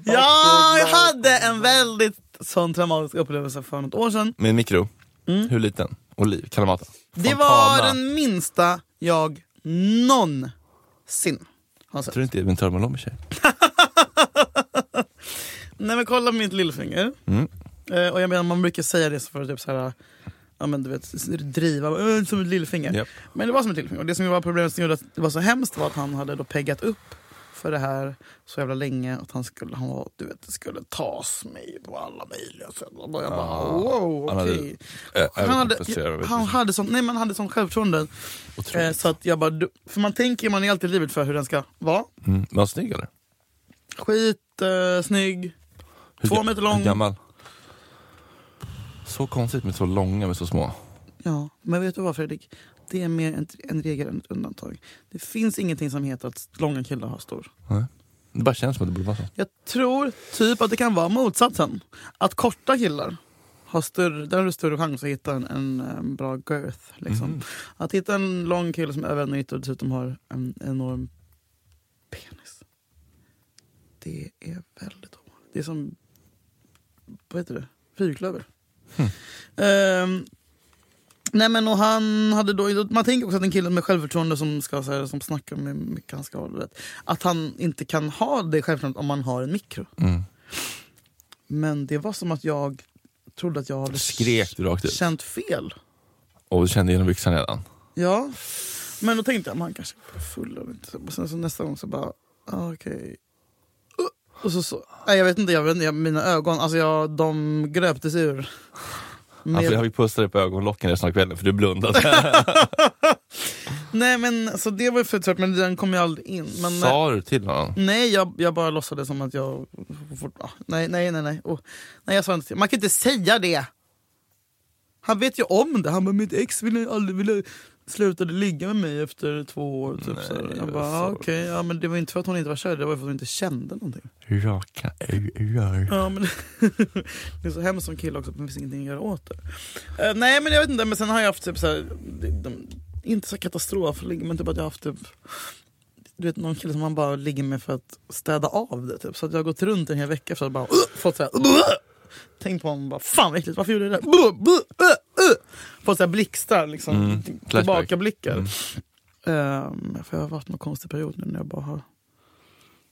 Speaker 1: Ja, jag hade en väldigt sån traumatisk upplevelse för något år sedan.
Speaker 2: Med en mikro. Hur liten? Och och liv. Kalamata.
Speaker 1: Mm. Det var den minsta jag någonsin har
Speaker 2: Jag
Speaker 1: sett.
Speaker 2: tror inte Evin Törnblom är tjej.
Speaker 1: Nej men kolla mitt lillfinger.
Speaker 2: Mm.
Speaker 1: Eh, och jag menar man brukar säga det för att typ så här, ja men du vet, s- driva, "Äh, som ett lillfinger.
Speaker 2: Japp.
Speaker 1: Men det var som ett lillfinger. Och det som var problemet som gjorde att det var så hemskt var att han hade då peggat upp för det här så jävla länge att han skulle, han var, du vet, skulle tas mig på alla möjliga sätt. Och jag bara wow,
Speaker 2: Ah, han hade
Speaker 1: okej.
Speaker 2: Ö-
Speaker 1: Han hade,
Speaker 2: överkompenserar, Äh, vet
Speaker 1: han
Speaker 2: du.
Speaker 1: hade sånt, nej men han hade sånt självförtroende.
Speaker 2: Otroligt.
Speaker 1: Eh, så att jag bara, du- för man tänker ju, man är alltid livet för hur den ska vara.
Speaker 2: Mm. Men var snygg eller?
Speaker 1: Skit, eh, snygg,
Speaker 2: Hur
Speaker 1: Två
Speaker 2: ga-
Speaker 1: meter lång.
Speaker 2: Hur gammal? Så konstigt med så långa med så små.
Speaker 1: Ja, men vet du vad Fredrik? Det är mer en, en regel än ett undantag. Det finns ingenting som heter att långa killar har stor.
Speaker 2: Nej. Det bara känns som att det borde vara så.
Speaker 1: Jag tror typ att det kan vara motsatsen. Att korta killar har större, där har du större chans att hitta en, en, eh, bra girth. Liksom. Att hitta en lång kille som är över en meter och dessutom har en enorm penis. Det är väldigt ovanligt. Det är som, vad heter det, fyrklöver. Ehm, Nej men och han hade då, man tänker också att en kille med självförtroende som, ska, så här, som snackar med mycket han ska ha, du vet, att han inte kan ha det självförtroendet om man har en mikro.
Speaker 2: Mm.
Speaker 1: Men det var som att jag trodde att jag hade
Speaker 2: Skrek du rakt ut?
Speaker 1: känt fel.
Speaker 2: Och du kände genom byxan redan?
Speaker 1: Ja. Men då tänkte jag, man kanske är full av inte. Och sen så nästa gång så bara, ah, okej. Uh, Och så, så, nej jag vet inte, jag vet inte jag, mina ögon, alltså jag, de gröptes ur.
Speaker 2: Ja, för
Speaker 1: Med-
Speaker 2: Alltså, jag fick pussa dig på ögonlocken resten av kvällen för du blundade.
Speaker 1: Nej men så det var ju fruktansvärt, men den kom ju aldrig in. Men, eh,
Speaker 2: Sa du till honom?
Speaker 1: Nej, jag, jag bara låtsades som att jag... Fort, ah, nej, nej, nej. Nej, oh, nej jag sa inte till. Man kan inte säga det! Han vet ju om det. Han bara, mitt ex ville aldrig ville slutade ligga med mig efter två år. Typ, så här. jag bara,
Speaker 2: vad
Speaker 1: ah,
Speaker 2: sorgligt.
Speaker 1: okej. Ja, men det var inte för att hon inte var kär, det var för att hon inte kände någonting.
Speaker 2: Raka öar.
Speaker 1: Ja, men det är så hemskt som kille också, att det finns ingenting att göra åt det. Eh, nej, men jag vet inte. Men sen har jag haft typ så här, de, de, inte så katastrof, men typ att jag har haft typ, du vet någon kille som man bara ligger med för att städa av det. Typ. Så att jag har gått runt en hel vecka för att bara uh, fått så här, uh, uh, tänkt på honom och bara fan vad äckligt, varför gjorde jag det där? Uh, uh, uh, uh. Fått så här blixtar, liksom,
Speaker 2: Mm,
Speaker 1: t-
Speaker 2: flashback.
Speaker 1: tillbakablickar. Ehm, för jag har varit någon konstig period nu när jag bara har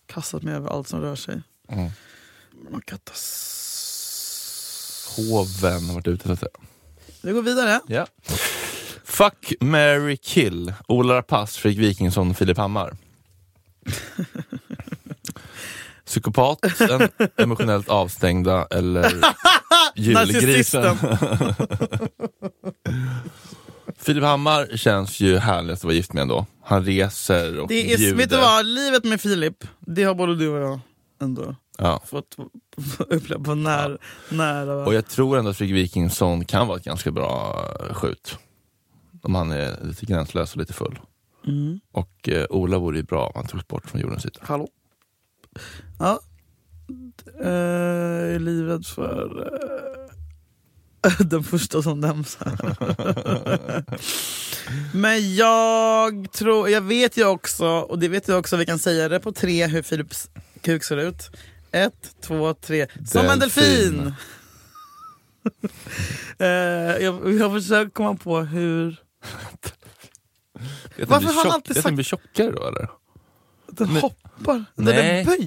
Speaker 1: kastat mig över allt som rör sig.
Speaker 2: Mm.
Speaker 1: Någon katastrof.
Speaker 2: Hoven har varit ute efter.
Speaker 1: Vi går vidare.
Speaker 2: Ja. Fuck, Mary kill. Ola Rapace, Fredrik Wikingsson, Filip Hammar. Psykopaten, emotionellt avstängda eller julgrisen. Filip Hammar känns ju härligast att vara gift med ändå. Han reser och
Speaker 1: Det är,
Speaker 2: bjuder.
Speaker 1: vet du vad, livet med Filip, det har både du och jag ändå
Speaker 2: Ja.
Speaker 1: fått uppleva på när, nära.
Speaker 2: Och jag tror ändå att Fredrik Wikingsson kan vara ett ganska bra eh, skjut. Om han är lite gränslös och lite full.
Speaker 1: Mm.
Speaker 2: Och eh, Ola vore ju bra om han togs bort från jordens yta.
Speaker 1: Hallå? Ja. Eh, Jag är livrädd för eh, den första som nämns här. Men jag tror, jag vet ju också, och det vet jag också, vi kan säga det på tre hur Philips kuk ser ut. Ett, två, tre. Som en
Speaker 2: Delfin.
Speaker 1: delfin! Eh, jag, jag försöker komma på hur...
Speaker 2: Vet
Speaker 1: Varför
Speaker 2: ni
Speaker 1: har
Speaker 2: blir
Speaker 1: han
Speaker 2: tjock-
Speaker 1: alltid
Speaker 2: vet ni blir tjockare då eller?
Speaker 1: Den
Speaker 2: Men-
Speaker 1: hoppar,
Speaker 2: Nej.
Speaker 1: den böjer.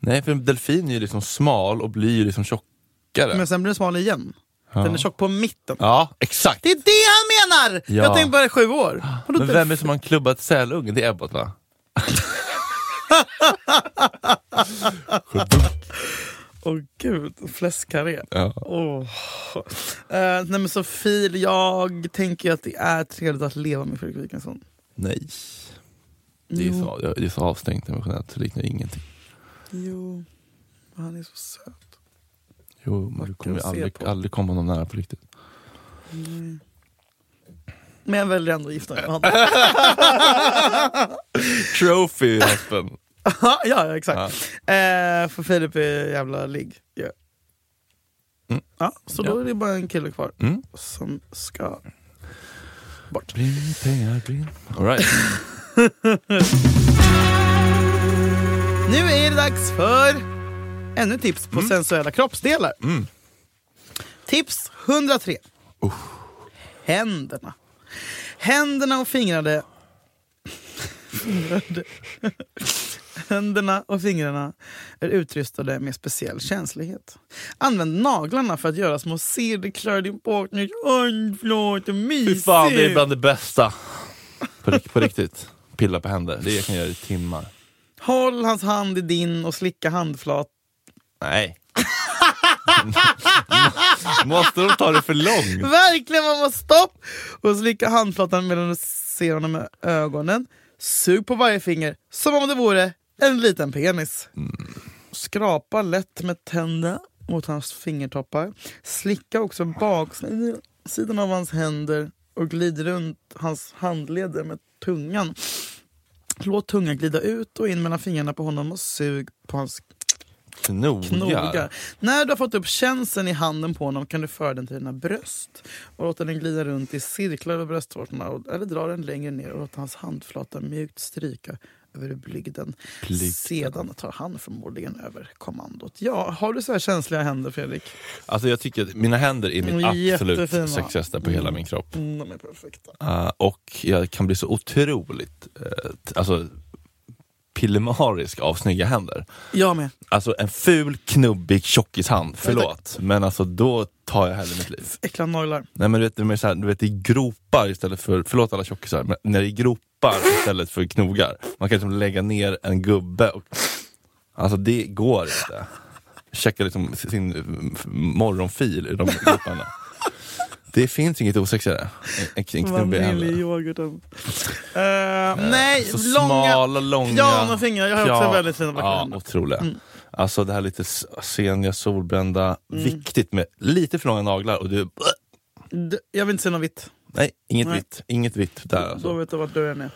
Speaker 2: Nej, för en delfin är ju liksom smal och blir ju liksom tjockare.
Speaker 1: Men sen blir den smal igen. Den är tjock på mitten.
Speaker 2: Ja, exakt.
Speaker 1: Det är det han menar!
Speaker 2: Ja.
Speaker 1: Jag tänkte bara sju år. Vadå
Speaker 2: Men
Speaker 1: delf-
Speaker 2: vem är det som har klubbat sälungen? Det är Ebbot va?
Speaker 1: Åh gud, fläskkarré.
Speaker 2: Ja.
Speaker 1: Åh. Eh, nej men Sofie, jag tänker ju att det är trevligt att leva med Fredrik Wikingsson.
Speaker 2: Nej. Det är, så, det är så avstängt emotionellt, så liknar det ingenting.
Speaker 1: Jo, han är så söt.
Speaker 2: Jo, men du kommer ju
Speaker 1: se
Speaker 2: aldrig,
Speaker 1: på.
Speaker 2: aldrig komma någon nära på riktigt.
Speaker 1: Men jag väljer ändå att gifta mig med honom.
Speaker 2: Trophy husband.
Speaker 1: ja, ja, exakt. Eh, för Filip är jävla ligg. Ja.
Speaker 2: Mm.
Speaker 1: Ja, så då
Speaker 2: Ja.
Speaker 1: är det bara en kille kvar
Speaker 2: Mm.
Speaker 1: som ska bort.
Speaker 2: Bring pengar, bring... All right.
Speaker 1: Nu är det dags för ännu tips
Speaker 2: Mm.
Speaker 1: på sensuella kroppsdelar. Tips 103. Händerna. Händerna och fingrade... fingrade. Händerna och fingrarna är utrustade med speciell känslighet. Använd naglarna för att göra små cirklar i din partners örnblad och
Speaker 2: Fy
Speaker 1: mysigt.
Speaker 2: fan, det är bland det bästa. På, rikt- på riktigt. Pilla på händer. Det kan jag göra i timmar.
Speaker 1: Håll hans hand i din och slicka handflat
Speaker 2: Nej. Måste de ta det för långt?
Speaker 1: Verkligen mamma, stopp! Och slicka handflatan medan du ser honom med ögonen. Sug på varje finger som om det vore en liten penis. Skrapa lätt med tänderna mot hans fingertoppar. Slicka också baksidan av hans händer och glid runt hans handleder med tungan. Låt tungan glida ut och in mellan fingrarna på honom och sug på hans knogar.
Speaker 2: Knogar.
Speaker 1: När du har fått upp känseln i handen på honom kan du föra den till dina bröst och låta den glida runt i cirklar över bröstvårtorna och- eller dra den längre ner och låta hans handflata mjukt stryka över blygden.
Speaker 2: Blygden.
Speaker 1: Sedan tar han förmodligen över kommandot. Ja, har du så här känsliga händer Fredrik?
Speaker 2: Alltså jag tycker att mina händer är mitt
Speaker 1: De är jättefina.
Speaker 2: absolut sexigaste på hela min kropp.
Speaker 1: Mm, de är perfekta.
Speaker 2: Eh, och jag kan bli så otroligt eh, t- alltså, pillemarisk av snygga händer.
Speaker 1: Jag med.
Speaker 2: Alltså en ful, knubbig tjockishand, förlåt. Men alltså då tar jag hellre mitt liv.
Speaker 1: Äckliga naglar.
Speaker 2: Nej men du vet, det är så här, du vet, det är gropar istället för, förlåt alla tjockisar, men när det är gropar istället för knogar. Man kan liksom lägga ner en gubbe och... Alltså det går inte. Checka liksom sin eh, morgonfil i de groparna. Det finns inget osexigare än en knubbig händer.
Speaker 1: Vaniljyoghurten. Uh, nej,
Speaker 2: Eh, Så
Speaker 1: långa...
Speaker 2: smala, långa...
Speaker 1: Pianofingrar. Jag har också väldigt fina Mm.
Speaker 2: Ja,
Speaker 1: backhänder.
Speaker 2: otroliga. Alltså det här lite s- seniga, solbrända,
Speaker 1: Mm.
Speaker 2: viktigt med lite för långa naglar och du...
Speaker 1: D- Jag vill inte se något vitt.
Speaker 2: Nej, inget
Speaker 1: Nej.
Speaker 2: vitt. Inget vitt där alltså.
Speaker 1: Då vet du vart dörren är.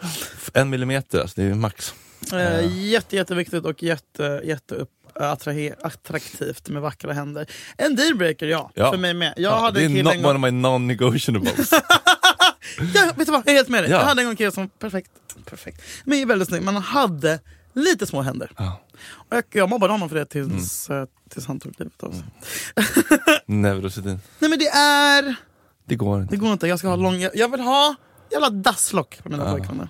Speaker 2: En millimeter, alltså det är max.
Speaker 1: Eh, jätte, jätteviktigt och jätte, jätte upp, attrahe, attraktivt med vackra händer. En dealbreaker, ja,
Speaker 2: Ja.
Speaker 1: För mig med. Jag
Speaker 2: Ja,
Speaker 1: hade
Speaker 2: det är
Speaker 1: en kille en
Speaker 2: not one
Speaker 1: gång...
Speaker 2: of my non-negotiables.
Speaker 1: Ja, vet du vad? Jag är helt med dig.
Speaker 2: Ja.
Speaker 1: Jag hade en gång en kille som perfekt, perfekt. Men är väldigt snygg. Men han hade lite små händer.
Speaker 2: Ja. Mm.
Speaker 1: Och jag, jag mobbade honom för det tills, eh, tills han tog livet av sig.
Speaker 2: Neurosedyn.
Speaker 1: Nej men det är...
Speaker 2: Det går inte.
Speaker 1: Det går inte. Jag ska ha lång... Jag, jag vill ha jävla dasslock på mina pojkvänner.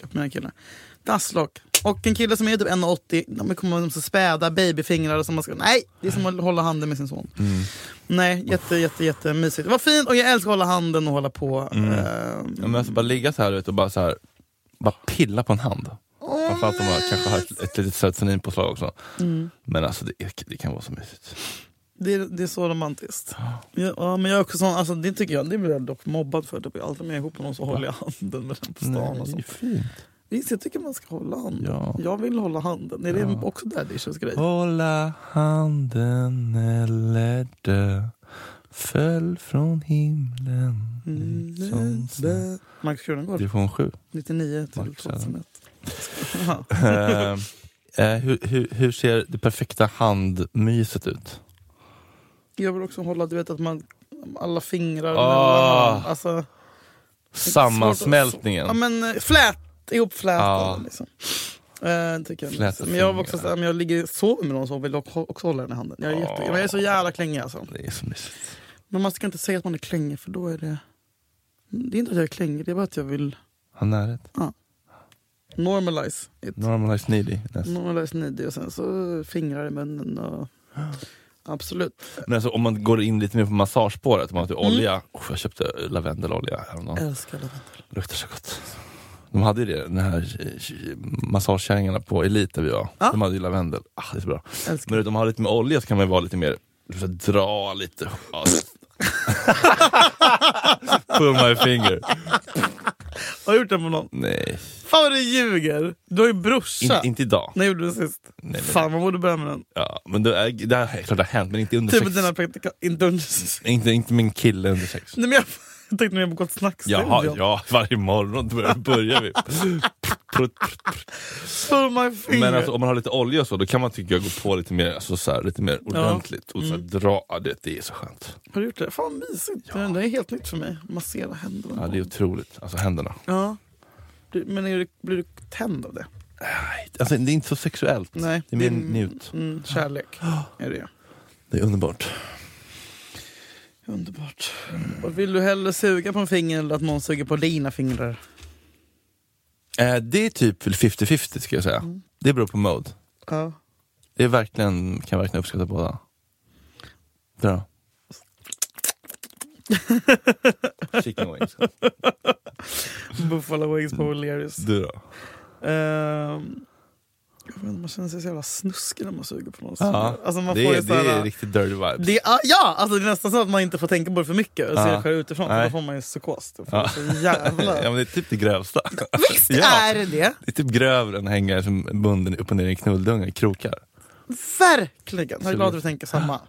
Speaker 1: På mina killar. Dasslock. Och en kille som är typ 1,80, de kommer med så späda babyfingrar som man ska... Nej! Det är som att hålla handen med sin son. Nej, jätte, jätte, jätte mysigt. Vad fint! Och jag älskar att hålla handen och hålla på. ehm,
Speaker 2: Ja, men alltså, bara ligga så här du vet, och bara så här, bara pilla på en hand. Framförallt om man kanske har ett, ett litet serotoninpåslag också.
Speaker 1: Mm.
Speaker 2: Men alltså det, är- det kan vara så mysigt.
Speaker 1: det, är, det är så romantiskt. Ja, ja, men jag är också sån, alltså, det tycker jag, det blir jag dock mobbad för. Typ. Alltid om jag är ihop med någon så håller jag handen med den på stan. alltså. och
Speaker 2: det är
Speaker 1: sånt.
Speaker 2: fint.
Speaker 1: Visst, jag tycker man ska hålla handen.
Speaker 2: Ja.
Speaker 1: Jag vill hålla handen. Är det också daddy issues grej?
Speaker 2: Hålla handen eller dö Föll från himlen
Speaker 1: Mm.
Speaker 2: som snö.
Speaker 1: Max Kronengård,
Speaker 2: Division 7.
Speaker 1: 99 till
Speaker 2: Max Adam.
Speaker 1: 2001.
Speaker 2: Eh, eh, hur, hur, hur ser det perfekta handmyset ut?
Speaker 1: Jag vill också hålla, du vet att man, alla fingrar
Speaker 2: Ah.
Speaker 1: mellan, alltså,
Speaker 2: Sammansmältningen.
Speaker 1: Ja men eh, flät, ihopflätade
Speaker 2: Ja.
Speaker 1: liksom. Eh, tycker jag.
Speaker 2: Fläta
Speaker 1: Men jag var
Speaker 2: fingrar.
Speaker 1: också såhär, men jag ligger sover med någon som vill också också hålla den i handen. Jag är, jätte, men jag är så jävla klängig alltså.
Speaker 2: Det är så mysigt.
Speaker 1: Men man ska inte säga att man är klängig för då är det... Det är inte att jag är klängig, det är bara att jag vill
Speaker 2: Ha närhet.
Speaker 1: normalize it.
Speaker 2: Normalize needy. Yes.
Speaker 1: Normalize needy och sen så fingrar i munnen och... Absolut.
Speaker 2: Men alltså, om man går in lite mer på massagespåret, om man har
Speaker 1: Mm.
Speaker 2: typ olja. Oh, jag köpte lavendelolja häromdagen.
Speaker 1: Älskar lavendel.
Speaker 2: Luktar så gott. De hade ju det, den här eh, k- massagekärringarna på Elite där vi var. De hade ju lavendel. Ah, det är så bra.
Speaker 1: Älskar.
Speaker 2: Men om man har lite mer olja så kan man ju vara lite mer, så här, dra lite. Pull my finger.
Speaker 1: Har du gjort den på någon?
Speaker 2: Nej,
Speaker 1: Fan vad du ljuger! Du har ju brorsa.
Speaker 2: inte, inte idag.
Speaker 1: När gjorde du den sist?
Speaker 2: men-
Speaker 1: Fan man borde börja med den.
Speaker 2: Ja, men det, är, det här är klart det har hänt, men inte under
Speaker 1: Typ
Speaker 2: sex.
Speaker 1: dina praktikanter. Inte under sex.
Speaker 2: Inte, inte min kille under sex.
Speaker 1: Nej men jag, jag tänkte mer på Gott Snack-studion.
Speaker 2: Jaha, ja, varje morgon börjar, börjar vi. Prutt, prutt, prutt.
Speaker 1: Pull my finger.
Speaker 2: Men alltså, om man har lite olja och så, då kan man tycka jag gå på lite mer, alltså, så här, lite mer ordentligt. Och så
Speaker 1: Mm.
Speaker 2: här, dra, ja, det, det är så skönt.
Speaker 1: Har du gjort det? Fan vad mysigt. Det där är helt nytt för mig. Massera händerna.
Speaker 2: Ja, det är otroligt. Alltså händerna.
Speaker 1: Ja. Du, men är du, blir du tänd av det?
Speaker 2: Nej, Alltså, det är inte så sexuellt.
Speaker 1: Nej.
Speaker 2: Det är mer njut.
Speaker 1: Mm, kärlek är det ju.
Speaker 2: Det är underbart.
Speaker 1: Underbart. Och vill du hellre suga på en finger eller att någon suger på dina fingrar?
Speaker 2: Eh, det är typ 50-50 ska jag säga.
Speaker 1: Mm.
Speaker 2: Det beror på mode.
Speaker 1: Ja.
Speaker 2: Det är verkligen, kan jag verkligen uppskatta båda. Bra. Chicken wings.
Speaker 1: Buffalo wings på O'Learys.
Speaker 2: Du då?
Speaker 1: Ehm, jag vet inte, man känner sig så jävla snuskig när man suger på någons fingrar. Alltså man
Speaker 2: det,
Speaker 1: får
Speaker 2: är,
Speaker 1: ju
Speaker 2: det
Speaker 1: så här-
Speaker 2: är riktigt dirty vibes.
Speaker 1: Det, ah, ja, alltså det är nästan så att man inte får tänka på det för mycket och se
Speaker 2: Ja.
Speaker 1: det själv utifrån. För
Speaker 2: Nej.
Speaker 1: då får man ju psykos. Då får
Speaker 2: Ja.
Speaker 1: man så
Speaker 2: ja,
Speaker 1: jävla...
Speaker 2: men det är typ det grövsta.
Speaker 1: Visst
Speaker 2: Ja.
Speaker 1: är det det!
Speaker 2: Det är typ grövre än att hänga som bunden upp och ner i en knulldunge i krokar.
Speaker 1: Verkligen! Jag är glad att du tänker samma.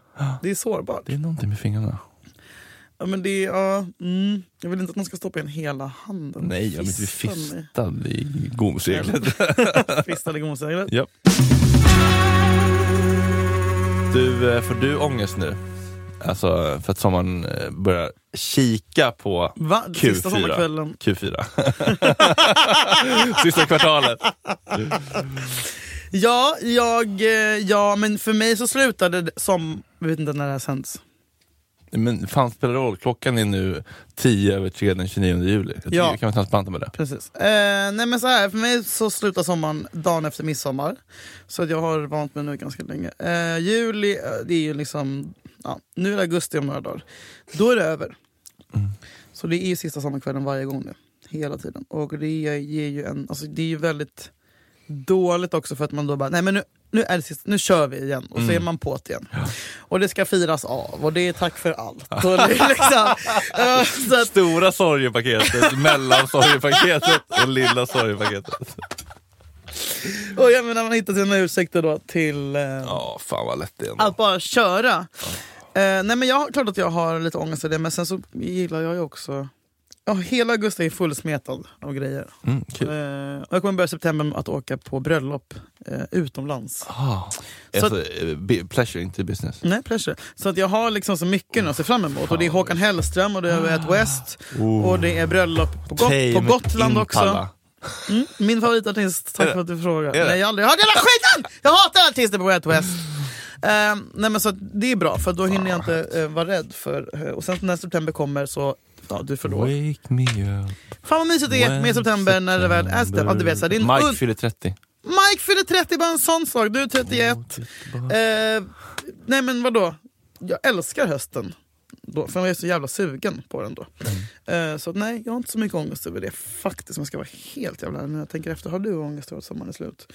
Speaker 1: Det är sårbart.
Speaker 2: Det är någonting med fingrarna.
Speaker 1: Ja, men det är, ja, mm, jag vill inte att man ska stoppa in hela handen.
Speaker 2: Nej, jag blir inte
Speaker 1: Fisten i-
Speaker 2: fistad i gomseglet.
Speaker 1: Fistad i gomseglet.
Speaker 2: Japp. Du, eh, får du ångest nu? Alltså för att sommaren eh, börjar kika på
Speaker 1: Va? Sista
Speaker 2: Q4.
Speaker 1: sommarkvällen.
Speaker 2: Q4. Sista kvartalet.
Speaker 1: Ja, jag, eh, ja, men för mig så slutade det som... Jag vet inte när det här sänds.
Speaker 2: Men fan spelar det roll? Klockan är nu 10 över 3 den 29 juli. Jag tycker
Speaker 1: Ja.
Speaker 2: vi kan väl transparenta med det.
Speaker 1: Precis. Eh, nej men så här, för mig så slutar sommaren dagen efter midsommar. Så att jag har vant mig nu ganska länge. Eh, juli, eh, det är ju liksom... Ja, nu är det augusti om några dagar. Då är det över. Så det är ju sista sommarkvällen varje gång nu. Hela tiden. Och det ger ju en... Alltså det är ju väldigt dåligt också för att man då bara, nej men nu, nu är det sista, nu kör vi igen. Och så är man på det igen. Och det ska firas av och det är tack för allt. Och det är liksom, eh, så att,
Speaker 2: Stora sorgepaketet, mellan sorgepaketet och lilla sorgepaketet.
Speaker 1: Och jag menar man hittar sina ursäkter då till eh,
Speaker 2: Ja, fan vad lätt det är. ändå.
Speaker 1: att bara köra. Eh, nej men jag, har- klart att jag har lite ångest i det men sen så gillar jag ju också... Ja, hela augusti är fullsmetad av grejer.
Speaker 2: Mm, kul.
Speaker 1: Eh, och jag kommer börja september med att åka på bröllop eh, utomlands.
Speaker 2: Ah.
Speaker 1: Så-
Speaker 2: Alltså, eh, bi- pleasure, inte business.
Speaker 1: Nej, pleasure. Så att jag har liksom så mycket nu att se fram emot. Och det är Håkan Hellström och det är
Speaker 2: Ah.
Speaker 1: Way Out West. Och det är bröllop på, Got- på
Speaker 2: Tame
Speaker 1: Gotland också.
Speaker 2: Impala.
Speaker 1: Mm, min favoritartist, tack
Speaker 2: Är det-
Speaker 1: för att du frågar.
Speaker 2: är det?
Speaker 1: Nej, jag har aldrig hört hela skiten! Jag hatar artister på Way Out West. Ehm, nej men så att det är bra, för då hinner jag inte eh, vara rädd för... eh, och sen när september kommer så... Ja, du förlorar.
Speaker 2: Wake me up.
Speaker 1: Fan vad mysigt det är med september när det väl är september. Ja, du vet, så här, det är en
Speaker 2: Mike
Speaker 1: un-
Speaker 2: fyller 30.
Speaker 1: Mike fyller 30, bara en sån sak. Du är 31. Eh, nej men vadå? Jag älskar hösten. Då, för jag är så jävla sugen på den då.
Speaker 2: Mm.
Speaker 1: Eh, så att nej, jag har inte så mycket ångest över det faktiskt. Om jag ska vara helt jävla ärlig. när jag tänker efter. Har du ångest över att sommaren är slut?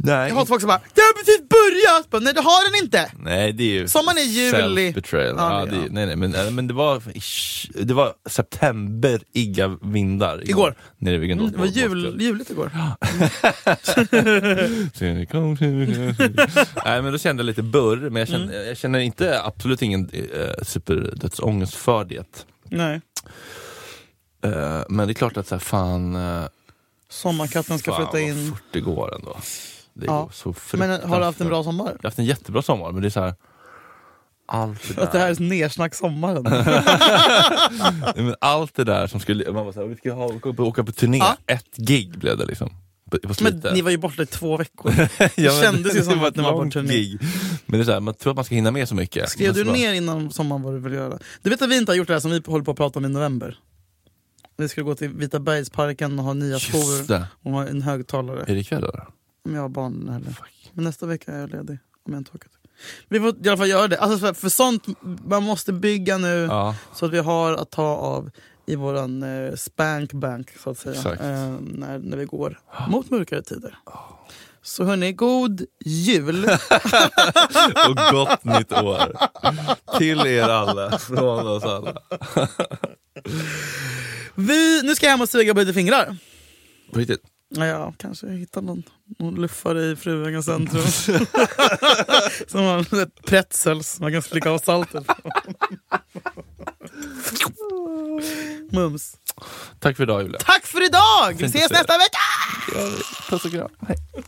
Speaker 2: Nej.
Speaker 1: Jag hatar folk som bara “Jag har precis börjat!” bara, Nej det har den inte!
Speaker 2: Nej det är ju
Speaker 1: Sommaren är juli.
Speaker 2: self-betrayal.
Speaker 1: Ja,
Speaker 2: Ja, det,
Speaker 1: ja.
Speaker 2: är- nej, nej, men, eh, men det var, ish, det var september-igga vindar
Speaker 1: Igår.
Speaker 2: Nere vid
Speaker 1: Mm, det var jul, juligt igår.
Speaker 2: Nej men då kände jag lite burr, men jag känner,
Speaker 1: Mm.
Speaker 2: jag känner inte, absolut ingen eh, superdödsångest för det.
Speaker 1: Nej.
Speaker 2: Eh, men det är klart att så här, fan, eh,
Speaker 1: Sommarkatten ska
Speaker 2: fan
Speaker 1: flytta in.
Speaker 2: fort det går ändå. Det
Speaker 1: Ja.
Speaker 2: går så
Speaker 1: Men har du haft en
Speaker 2: fruktansvärt
Speaker 1: bra sommar?
Speaker 2: Jag har haft en jättebra sommar, men det är så här... Allt det
Speaker 1: Att det
Speaker 2: där,
Speaker 1: här är nersnack sommaren.
Speaker 2: Nej, men allt det där som skulle... Man var så här, vi ska ha, åka, på, åka på turné.
Speaker 1: Ja.
Speaker 2: Ett gig blev det liksom. På, på
Speaker 1: Men
Speaker 2: slutet.
Speaker 1: ni var ju borta i två veckor.
Speaker 2: Ja, men
Speaker 1: det kändes ju som
Speaker 2: var
Speaker 1: att
Speaker 2: ett
Speaker 1: ni var på
Speaker 2: långt
Speaker 1: turné.
Speaker 2: gig. Men det är så här, man tror att man ska hinna med så mycket.
Speaker 1: Skrev
Speaker 2: Men så
Speaker 1: du
Speaker 2: bara-
Speaker 1: ner innan sommaren vad du vill göra? Du vet att vi inte har gjort det här som vi håller på att prata om i november? Vi skulle gå till Vita Bergsparken och ha nya skor
Speaker 2: Just det.
Speaker 1: och ha en högtalare.
Speaker 2: Är det ikväll då?
Speaker 1: Om jag har barn den här helgen. Men nästa vecka är jag ledig. Om jag inte åker. till- Vi får i alla fall göra det. Alltså för, för sånt man måste bygga nu
Speaker 2: Ja.
Speaker 1: så att vi har att ta av i våran eh, spankbank så att säga.
Speaker 2: Exakt. Ah.
Speaker 1: Eh, när, när vi går mot mörkare tider. Så hörni, god jul!
Speaker 2: Och gott nytt år. Till er alla. Från oss alla.
Speaker 1: Vi, nu ska jag hem och suga på lite fingrar.
Speaker 2: På riktigt.
Speaker 1: Ja, jag kanske hittar någon, någon luffare i Fruängens centrum. Som har ett pretzels som man kan slicka av saltet på. Mums.
Speaker 2: Tack för idag Julia.
Speaker 1: Tack för idag! Vi ses nästa vecka!
Speaker 2: Puss och kram. Hej.